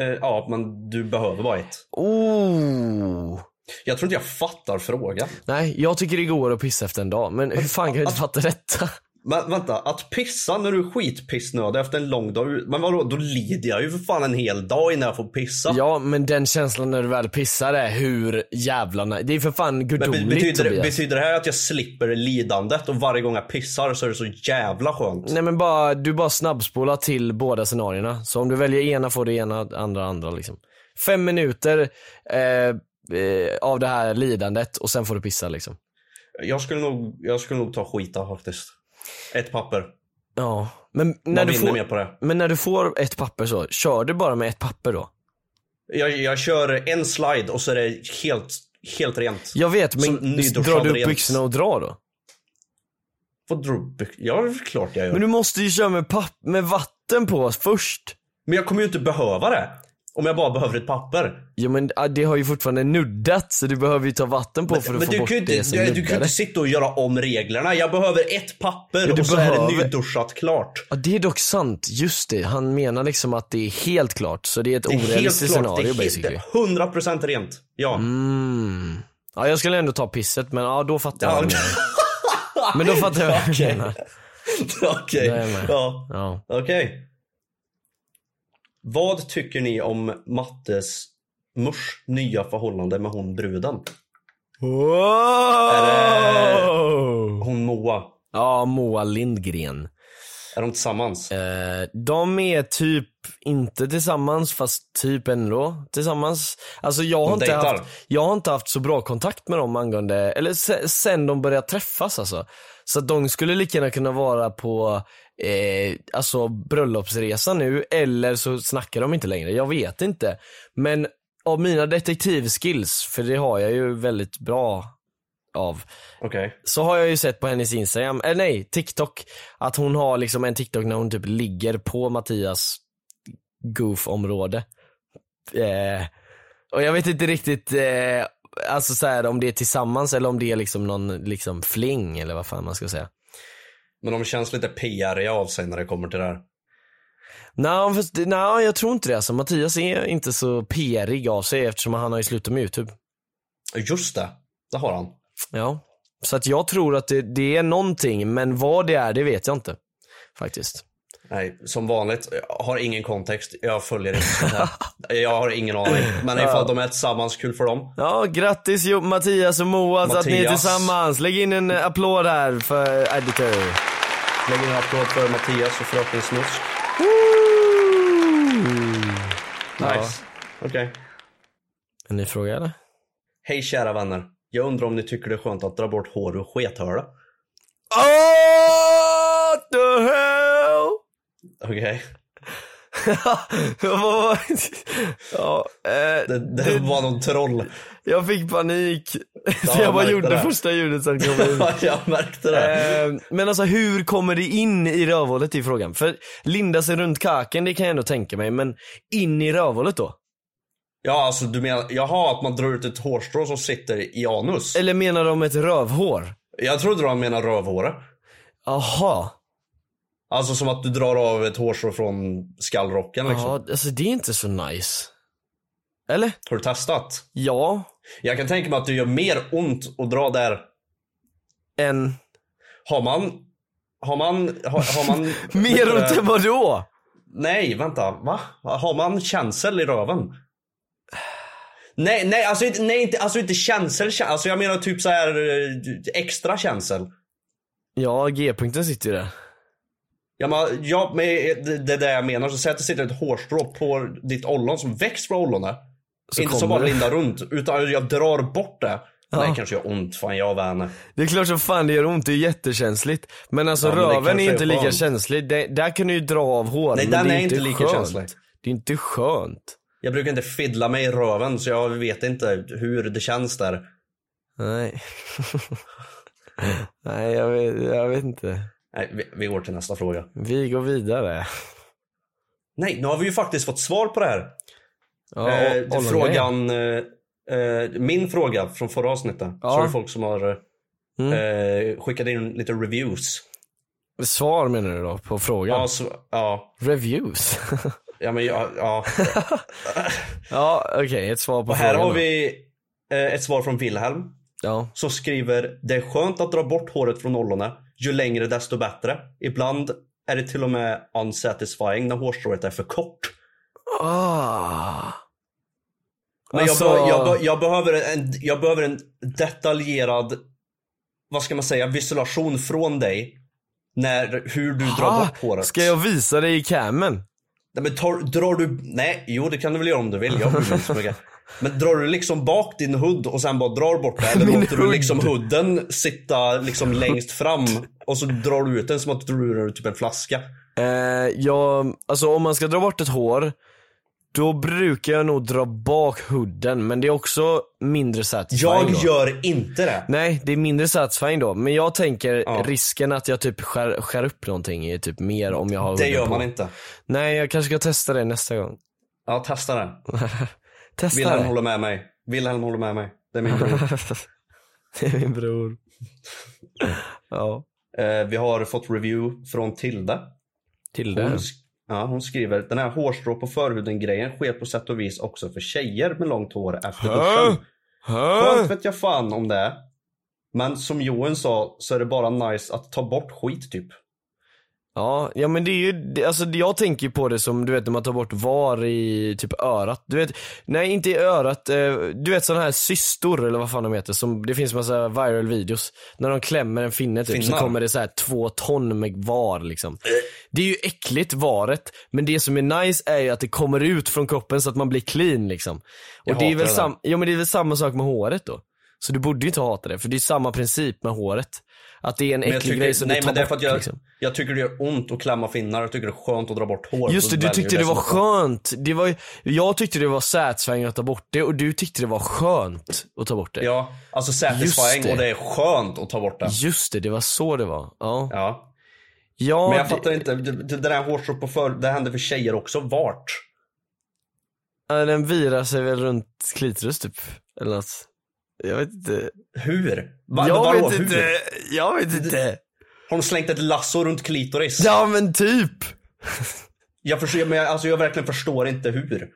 Speaker 4: Eh, ja, men du behöver bara ett.
Speaker 3: Oh.
Speaker 4: Jag tror inte jag fattar frågan.
Speaker 3: Nej, jag tycker det går att pissa efter en dag, men hur fan kan jag inte fatta detta?
Speaker 4: Men vänta, att pissa när du är skitpissnödig efter en lång dag ut- Men vadå, då lider jag ju för fan en hel dag innan jag får pissa.
Speaker 3: Ja, men den känslan när du väl pissar är hur jävla... na- Det är för fan
Speaker 4: men be-
Speaker 3: gudomligt
Speaker 4: betyder, det,
Speaker 3: Tobias.
Speaker 4: betyder det här att jag slipper lidandet och varje gång jag pissar så är det så jävla skönt?
Speaker 3: Nej men bara, du bara snabbspolar till båda scenarierna. Så om du väljer ena får du ena, andra andra liksom. Fem minuter eh, eh, av det här lidandet och sen får du pissa liksom.
Speaker 4: Jag skulle nog, jag skulle nog ta skita faktiskt. Ett papper.
Speaker 3: Ja, men när,
Speaker 4: Man
Speaker 3: du
Speaker 4: vinner
Speaker 3: får,
Speaker 4: mer på det.
Speaker 3: men när du får ett papper så, kör du bara med ett papper då?
Speaker 4: Jag, jag kör en slide och så är det helt, helt rent.
Speaker 3: Jag vet,
Speaker 4: Som
Speaker 3: men
Speaker 4: nyduschad
Speaker 3: drar du upp
Speaker 4: rent.
Speaker 3: byxorna och drar då?
Speaker 4: Vad drog byx- Ja, det är klart jag gör.
Speaker 3: Men
Speaker 4: Men,
Speaker 3: du måste ju köra med, papp- med vatten på oss först.
Speaker 4: jag kommer ju inte behöva det. Om jag bara behöver ett papper.
Speaker 3: Ja men ah, det har ju fortfarande nuddat så du behöver ju ta vatten på för
Speaker 4: Men
Speaker 3: att få
Speaker 4: du
Speaker 3: bort
Speaker 4: kan ju
Speaker 3: det
Speaker 4: inte,
Speaker 3: som
Speaker 4: du, du kan ju
Speaker 3: nuddade.
Speaker 4: inte sitta och göra om reglerna. Jag behöver ett papper
Speaker 3: du
Speaker 4: och så är
Speaker 3: behöver-
Speaker 4: det nyduschat klart.
Speaker 3: Ja det är dock sant, just det. Han menar liksom att det är helt klart, så det är ett
Speaker 4: Det är helt
Speaker 3: orealistiskt
Speaker 4: klart. Det
Speaker 3: scenario
Speaker 4: är
Speaker 3: basically.
Speaker 4: helt, 100% rent. Ja.
Speaker 3: Mm. Ja jag skulle ändå ta pisset men ja då fattar jag
Speaker 4: ja.
Speaker 3: vad du menar. Men då fattar jag vad du
Speaker 4: Okej.
Speaker 3: menar.
Speaker 4: Okej.
Speaker 3: Jag är med.
Speaker 4: Ja.
Speaker 3: Ja.
Speaker 4: Okej. Vad tycker ni om Mattes mors nya förhållande med hon bruden?
Speaker 3: Wow!
Speaker 4: Hon Moa.
Speaker 3: Ja, Moa Lindgren.
Speaker 4: Är de tillsammans?
Speaker 3: Eh, De är typ inte tillsammans fast typ ändå tillsammans. Alltså jag har,
Speaker 4: De
Speaker 3: inte
Speaker 4: dejtar.
Speaker 3: haft, jag har inte haft så bra kontakt med dem angående, eller se- sen de började träffas alltså. Så att de skulle lika gärna kunna vara på eh, alltså bröllopsresa nu eller så snackar de inte längre. Jag vet inte. Men av mina detektivskills, för det har jag ju väldigt bra av
Speaker 4: Okej.
Speaker 3: så har jag ju sett på hennes instagram, eller nej, tiktok, att hon har liksom en tiktok när hon typ ligger på Mattias goof-område. Eh, och jag vet inte riktigt eh, alltså så här, om det är tillsammans eller om det är liksom någon liksom fling eller vad fan man ska säga.
Speaker 4: Men de känns lite PR av sig när det kommer till det här.
Speaker 3: Nej, fast, nej, jag tror inte det alltså. Mattias är inte så PRig av sig eftersom han har ju slutat med youtube.
Speaker 4: Just det. Det har han.
Speaker 3: Ja. Så att jag tror att det, det är någonting, men vad det är det vet jag inte. Faktiskt.
Speaker 4: Nej, som vanligt. Jag har ingen kontext. Jag följer inte sånt här. Jag har ingen aning. Men ifall de är tillsammans, kul för dem.
Speaker 3: Ja, grattis jo, Mattias och Moa så att ni är
Speaker 4: Mattias.
Speaker 3: tillsammans. Lägg in en eh, applåd här för Editor.
Speaker 4: Lägg in en applåd för Mattias och Fröken Snusk. Nice. Okej.
Speaker 3: En ny fråga eller?
Speaker 4: Hej kära vänner. Jag undrar om ni tycker det är skönt att dra bort hår ur skethörda?
Speaker 3: Oh, the hell!
Speaker 4: Okej.
Speaker 3: Vad var ja, eh,
Speaker 4: Det, det var någon troll.
Speaker 3: jag fick panik. så
Speaker 4: Ja,
Speaker 3: jag
Speaker 4: jag
Speaker 3: bara
Speaker 4: märkte
Speaker 3: gjorde
Speaker 4: det.
Speaker 3: första ljudet sen kom jag ut.
Speaker 4: jag märkte det.
Speaker 3: Eh, Men alltså hur kommer det in i rövhålet i frågan? För linda sig runt kaken det kan jag ändå tänka mig, men in i rövhålet då?
Speaker 4: Ja, alltså du menar, jaha, att man drar ut ett hårstrå som sitter i anus?
Speaker 3: Eller menar de ett rövhår?
Speaker 4: Jag trodde de menade rövhåret.
Speaker 3: Aha.
Speaker 4: Alltså som att du drar av ett hårstrå från skallrocken liksom.
Speaker 3: Ja, alltså det är inte så nice. Eller?
Speaker 4: Har du testat?
Speaker 3: Ja.
Speaker 4: Jag kan tänka mig att det gör mer ont att dra där.
Speaker 3: En...
Speaker 4: Har man... Har man... Har, har man...
Speaker 3: Mer ont
Speaker 4: eh,
Speaker 3: än vadå?
Speaker 4: Nej, vänta. Va? Har man känsel i röven? Nej, nej, alltså inte, nej, inte, alltså inte känsel, kä- alltså jag menar typ så här eh, extra känsel.
Speaker 3: Ja, g-punkten sitter ju där.
Speaker 4: Ja, men, ja, men eh, det, det är det jag menar. Så säg att det sitter ett hårstrå på ditt ollon som växt från ollonet.
Speaker 3: Så
Speaker 4: inte som
Speaker 3: kommer
Speaker 4: bara
Speaker 3: det.
Speaker 4: lindar runt, utan jag drar bort det. Nej, det kanske gör ont. Fan, jag vänner.
Speaker 3: Det är klart som fan det gör ont, det är jättekänsligt. Men alltså
Speaker 4: Ja, men det
Speaker 3: röven
Speaker 4: kanske
Speaker 3: är
Speaker 4: är
Speaker 3: inte lika
Speaker 4: skönt.
Speaker 3: känslig. Det, där kan du ju dra av håret
Speaker 4: Nej,
Speaker 3: men
Speaker 4: den
Speaker 3: det är,
Speaker 4: är inte lika
Speaker 3: skönt.
Speaker 4: känslig.
Speaker 3: Det är inte skönt.
Speaker 4: Jag brukar inte fiddla mig i röven, så jag vet inte hur det känns där.
Speaker 3: Nej. Nej, jag vet, jag vet inte.
Speaker 4: Nej, vi, vi går till nästa fråga.
Speaker 3: Vi går vidare.
Speaker 4: Nej, nu har vi ju faktiskt fått svar på det här.
Speaker 3: Ja,
Speaker 4: eh,
Speaker 3: ollongrej.
Speaker 4: frågan, eh, eh, min fråga från förra avsnittet.
Speaker 3: Ja. Mm.
Speaker 4: Så är det folk som har eh, skickat in lite reviews.
Speaker 3: Svar menar du då, på frågan?
Speaker 4: Ja, så, ja,
Speaker 3: Reviews?
Speaker 4: ja men ja. ja.
Speaker 3: ja, okej, ett svar på
Speaker 4: Och här
Speaker 3: frågan
Speaker 4: har
Speaker 3: då.
Speaker 4: vi eh, ett svar från Wilhelm.
Speaker 3: Ja.
Speaker 4: Som skriver, det är skönt att dra bort håret från ollonet. Ju längre desto bättre. Ibland är det till och med unsatisfying när hårstrået är för kort.
Speaker 3: Ah.
Speaker 4: Men
Speaker 3: Alltså-
Speaker 4: jag, be- jag, be- jag, behöver en, jag behöver en detaljerad, vad ska man säga, visualisation från dig. När, hur du drar
Speaker 3: Ah,
Speaker 4: bort håret.
Speaker 3: Ska jag visa dig i camen?
Speaker 4: Nej, men tar, drar du, nej, jo det kan du väl göra om du vill. Jag bryr mig inte så mycket. Men drar du liksom bak din hud och sen bara drar bort det? Eller
Speaker 3: Min
Speaker 4: låter
Speaker 3: hud.
Speaker 4: du liksom hudden sitta liksom längst fram och så drar du ut den som att du drar ur typ en flaska?
Speaker 3: Eh, jag, alltså om man ska dra bort ett hår, då brukar jag nog dra bak hooden, men det är också mindre satisfying
Speaker 4: Jag
Speaker 3: då.
Speaker 4: gör inte det.
Speaker 3: Nej, det är mindre satisfying då, men jag tänker
Speaker 4: Ja.
Speaker 3: risken att jag typ skär, skär upp någonting är typ mer om jag har
Speaker 4: Det
Speaker 3: hooden
Speaker 4: gör
Speaker 3: på.
Speaker 4: man inte.
Speaker 3: Nej, jag kanske ska testa det nästa gång.
Speaker 4: Ja, testa det.
Speaker 3: Testa
Speaker 4: Wilhelm
Speaker 3: det.
Speaker 4: håller med mig. Wilhelm håller med mig. Det är min grej.
Speaker 3: det är min bror. ja,
Speaker 4: Eh, vi har fått review från
Speaker 3: Mm.
Speaker 4: Tilda.
Speaker 3: till
Speaker 4: Hon,
Speaker 3: det.
Speaker 4: sk- ja, hon skriver den här hårstrå på förhuden grejen sker på sätt och vis också för tjejer med långt hår efter
Speaker 3: Hä?
Speaker 4: duschen.
Speaker 3: Ah!
Speaker 4: Skönt
Speaker 3: Äh.
Speaker 4: vet jag fan om det är. Men som Johan sa så är det bara nice att ta bort skit typ.
Speaker 3: Ja, ja men det är ju, det- alltså det- jag tänker ju på det som du vet när man tar bort var i typ örat. Du vet, nej inte i örat, eh, du vet sådana här cystor eller vad fan de heter, som, det finns massa viral videos. När de klämmer en finne typ så
Speaker 4: Finnar. Eh.
Speaker 3: kommer det så här två ton med var liksom. Det är ju äckligt varet, men det som är nice är ju att det kommer ut från kroppen så att man blir clean liksom. Och
Speaker 4: Jag
Speaker 3: det är, väl
Speaker 4: hatar det där.
Speaker 3: sam- ja, men det är väl samma sak med håret då. Så du borde ju inte hata det, för det är samma princip med håret. Att det är en
Speaker 4: Men jag
Speaker 3: äcklig
Speaker 4: tycker,
Speaker 3: grej som
Speaker 4: nej,
Speaker 3: du tar
Speaker 4: men det är
Speaker 3: bort
Speaker 4: för att jag,
Speaker 3: liksom.
Speaker 4: jag tycker det gör ont att klämma finnar. Jag tycker det är skönt att dra bort hår.
Speaker 3: Just
Speaker 4: Så
Speaker 3: det, du
Speaker 4: väljer
Speaker 3: tyckte det var
Speaker 4: som-
Speaker 3: skönt. Det var, ju- jag tyckte det var satisfying att ta bort det och du tyckte det var skönt att ta bort det.
Speaker 4: Ja, alltså
Speaker 3: Just
Speaker 4: satisfying
Speaker 3: det.
Speaker 4: och det är skönt att ta bort det.
Speaker 3: Just det, det var så det var. Ja.
Speaker 4: Ja.
Speaker 3: ja
Speaker 4: Men jag
Speaker 3: det-
Speaker 4: fattar inte, det, det där hårstrå på förhud, det händer för tjejer också. Vart?
Speaker 3: ja, Den virar sig väl runt klitoris typ. Eller något. Jag vet inte.
Speaker 4: Hur? Va,
Speaker 3: jag
Speaker 4: vadå,
Speaker 3: vet
Speaker 4: hur?
Speaker 3: inte. Jag vet inte.
Speaker 4: Har de slängt ett lasso runt klitoris?
Speaker 3: Ja men typ.
Speaker 4: Jag, förstår, men jag, alltså, jag verkligen förstår inte hur.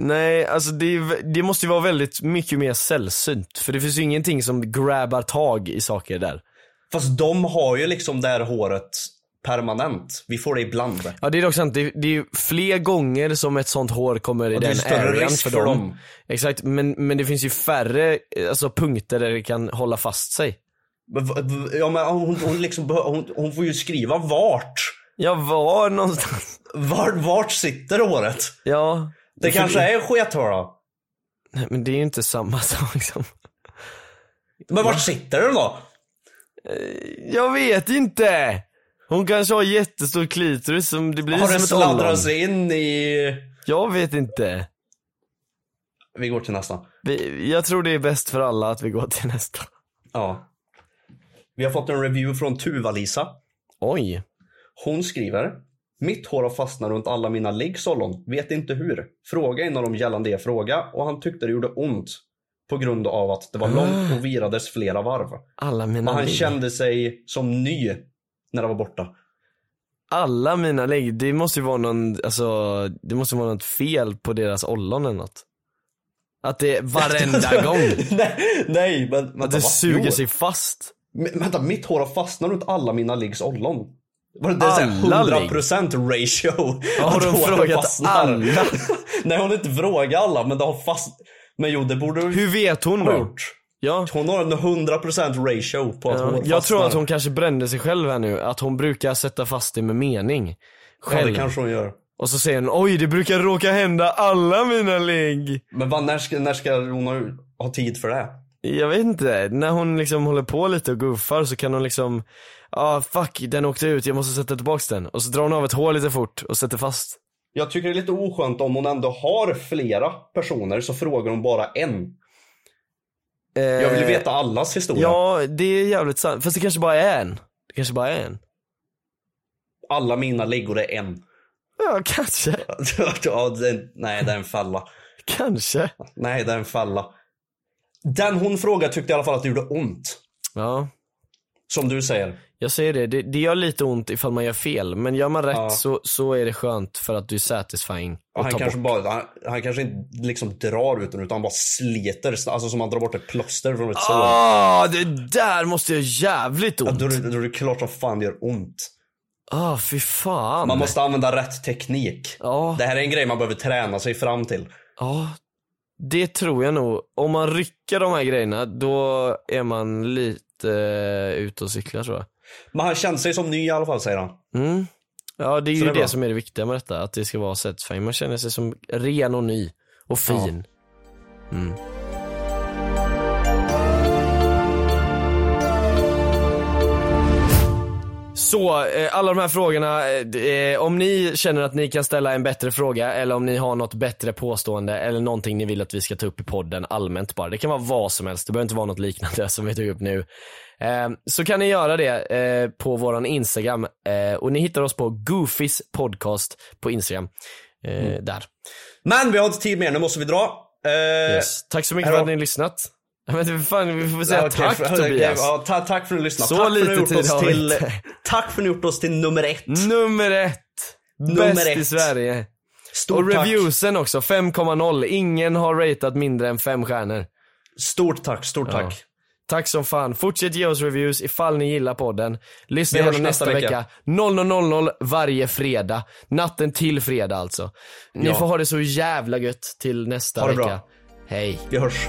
Speaker 3: Nej, alltså det, är vä- det måste ju vara väldigt mycket mer sällsynt. För det finns ju ingenting som grabbar tag i saker där.
Speaker 4: Fast de har ju liksom det här håret permanent. Vi får det ibland.
Speaker 3: Ja det är dock sant, det, det är ju fler gånger som ett sånt hår kommer i
Speaker 4: Och det är
Speaker 3: den
Speaker 4: större
Speaker 3: arean
Speaker 4: risk
Speaker 3: för
Speaker 4: för
Speaker 3: dem.
Speaker 4: dem.
Speaker 3: Exakt, men, men det finns ju färre eh, alltså, punkter där det kan hålla fast sig.
Speaker 4: Men v- v- Ja, men hon, hon, liksom, behö- hon, hon får ju skriva vart.
Speaker 3: Jag var någonstans.
Speaker 4: Vart, vart sitter håret?
Speaker 3: Ja.
Speaker 4: Det
Speaker 3: För-
Speaker 4: kanske är skethår då?
Speaker 3: Nej, men det är ju inte samma sak som...
Speaker 4: Men vart sitter den då?
Speaker 3: Jag vet inte! Hon kanske har jättestor klitoris som det blir
Speaker 4: Har
Speaker 3: som
Speaker 4: den
Speaker 3: ett ollon.
Speaker 4: sladdrat sig in i...
Speaker 3: Jag vet inte.
Speaker 4: Vi går till nästa.
Speaker 3: Vi, jag tror det är bäst för alla att vi går till nästa.
Speaker 4: Ja. Vi har fått en review från Tuva-Lisa.
Speaker 3: Oj.
Speaker 4: Hon skriver. Mitt hår har fastnat runt alla mina ligg, ollon. Vet inte hur. Fråga en av dem gällande er fråga och han tyckte det gjorde ont. På grund av
Speaker 3: Ah.
Speaker 4: att det var långt och virades flera varv.
Speaker 3: Alla
Speaker 4: Men
Speaker 3: mina
Speaker 4: han
Speaker 3: liv.
Speaker 4: kände sig som ny när han var borta.
Speaker 3: Alla mina lägg, det måste ju vara någon, alltså, det måste vara något fel på deras ollon eller något. Att det är varenda gång,
Speaker 4: nej, nej, men vänta,
Speaker 3: att det
Speaker 4: va?
Speaker 3: suger
Speaker 4: Jo.
Speaker 3: sig fast.
Speaker 4: Men, vänta, mitt hår har fastnat runt alla mina liggs ollon. Var det där
Speaker 3: Alla ligg?
Speaker 4: 100% ratio?
Speaker 3: Ja, har
Speaker 4: att
Speaker 3: de
Speaker 4: håren
Speaker 3: frågat alla?
Speaker 4: Nej, hon har inte frågat alla, men det har fast... Men jo, det borde hon
Speaker 3: Hur vet hon
Speaker 4: ha
Speaker 3: då?
Speaker 4: gjort.
Speaker 3: Ja.
Speaker 4: Hon har en 100% ratio på att hår
Speaker 3: Ja,
Speaker 4: fastnar.
Speaker 3: jag tror att hon kanske brände sig själv här nu, att hon brukar sätta fast det med mening.
Speaker 4: Ja,
Speaker 3: Själv.
Speaker 4: det kanske hon gör.
Speaker 3: Och så säger hon, oj det brukar råka hända alla mina ligg.
Speaker 4: Men vad, när, ska, när ska hon ha, ha tid för det?
Speaker 3: Jag vet inte, när hon liksom håller på lite och guffar så kan hon liksom, ah fuck den åkte ut, jag måste sätta tillbaks den. Och så drar hon av ett hål lite fort och sätter fast.
Speaker 4: Jag tycker det är lite oskönt om hon ändå har flera personer så frågar hon bara en.
Speaker 3: Eh,
Speaker 4: Jag vill ju veta allas historia.
Speaker 3: Ja, det är jävligt sant. Fast det kanske bara är en. Det kanske bara är en.
Speaker 4: Alla mina liggor är en.
Speaker 3: Ja, kanske.
Speaker 4: ja, det, nej, det är en falla.
Speaker 3: Kanske.
Speaker 4: Nej, det är en falla. Den hon frågade tyckte i alla fall att det gjorde ont.
Speaker 3: Ja,
Speaker 4: Som du säger.
Speaker 3: jag säger det. det. Det gör lite ont ifall man gör fel. Men gör man rätt så, så är det skönt för att du är satisfying. Och
Speaker 4: Han
Speaker 3: tar
Speaker 4: kanske,
Speaker 3: bort.
Speaker 4: bara, han, han kanske inte liksom drar ut den utan han bara sliter. Alltså som han drar bort ett plåster från ett sår.
Speaker 3: Ah, det där måste göra jävligt
Speaker 4: Ja,
Speaker 3: ont.
Speaker 4: Då är det- då är det klart som fan det gör ont.
Speaker 3: Ah, fy fan.
Speaker 4: Man måste använda rätt teknik.
Speaker 3: Ja.
Speaker 4: Det här är en grej man behöver träna sig fram till.
Speaker 3: Ja, det tror jag nog. Om man rycker de här grejerna, då är man lite eh, ute och cyklar tror jag.
Speaker 4: Men han kände sig som ny i alla fall säger han.
Speaker 3: Mm. Ja, det är
Speaker 4: Så
Speaker 3: ju
Speaker 4: det är
Speaker 3: det,
Speaker 4: bra.
Speaker 3: som är det viktiga med detta, att det ska vara satisfying. Man känner sig som ren och ny och fin. Mm. Så, eh, alla de här frågorna, eh, d- eh, om ni känner att ni kan ställa en bättre fråga eller om ni har något bättre påstående eller någonting ni vill att vi ska ta upp i podden allmänt bara. Det kan vara vad som helst, det behöver inte vara något liknande som vi tog upp nu. Eh, Så kan ni göra det eh, på våran Instagram eh, och ni hittar oss på Goofys podcast på Instagram. Eh,
Speaker 4: Mm.
Speaker 3: Där.
Speaker 4: Men vi har inte tid mer, nu måste vi dra. Eh,
Speaker 3: Yes. Tack så mycket
Speaker 4: här
Speaker 3: för
Speaker 4: då.
Speaker 3: att ni har lyssnat. Jag vet inte, fan, vi får väl säga
Speaker 4: okej,
Speaker 3: tack
Speaker 4: för- okej,
Speaker 3: Tobias.
Speaker 4: ja, ta, tack för att ni lyssnade.
Speaker 3: Så
Speaker 4: tack för att ni
Speaker 3: lite
Speaker 4: gjort
Speaker 3: tid
Speaker 4: oss
Speaker 3: har vi
Speaker 4: till,
Speaker 3: inte. Mm.
Speaker 4: Tack för att ni gjort oss till nummer ett.
Speaker 3: Nummer ett.
Speaker 4: Nummer
Speaker 3: Bäst i
Speaker 4: ett.
Speaker 3: Sverige.
Speaker 4: Stort
Speaker 3: Och
Speaker 4: tack.
Speaker 3: reviewsen också, 5,0. Ingen har ratat mindre än fem stjärnor.
Speaker 4: Stort tack, stort tack.
Speaker 3: Tack som fan. Fortsätt ge oss reviews ifall ni gillar podden. Lyssna
Speaker 4: Vi hörs
Speaker 3: gärna nästa,
Speaker 4: nästa
Speaker 3: vecka.
Speaker 4: vecka.
Speaker 3: 00.00 varje fredag. Natten till fredag alltså. Ni
Speaker 4: Ja.
Speaker 3: får ha det så jävla gött till nästa
Speaker 4: Ha det
Speaker 3: vecka.
Speaker 4: bra.
Speaker 3: Hej.
Speaker 4: Vi hörs.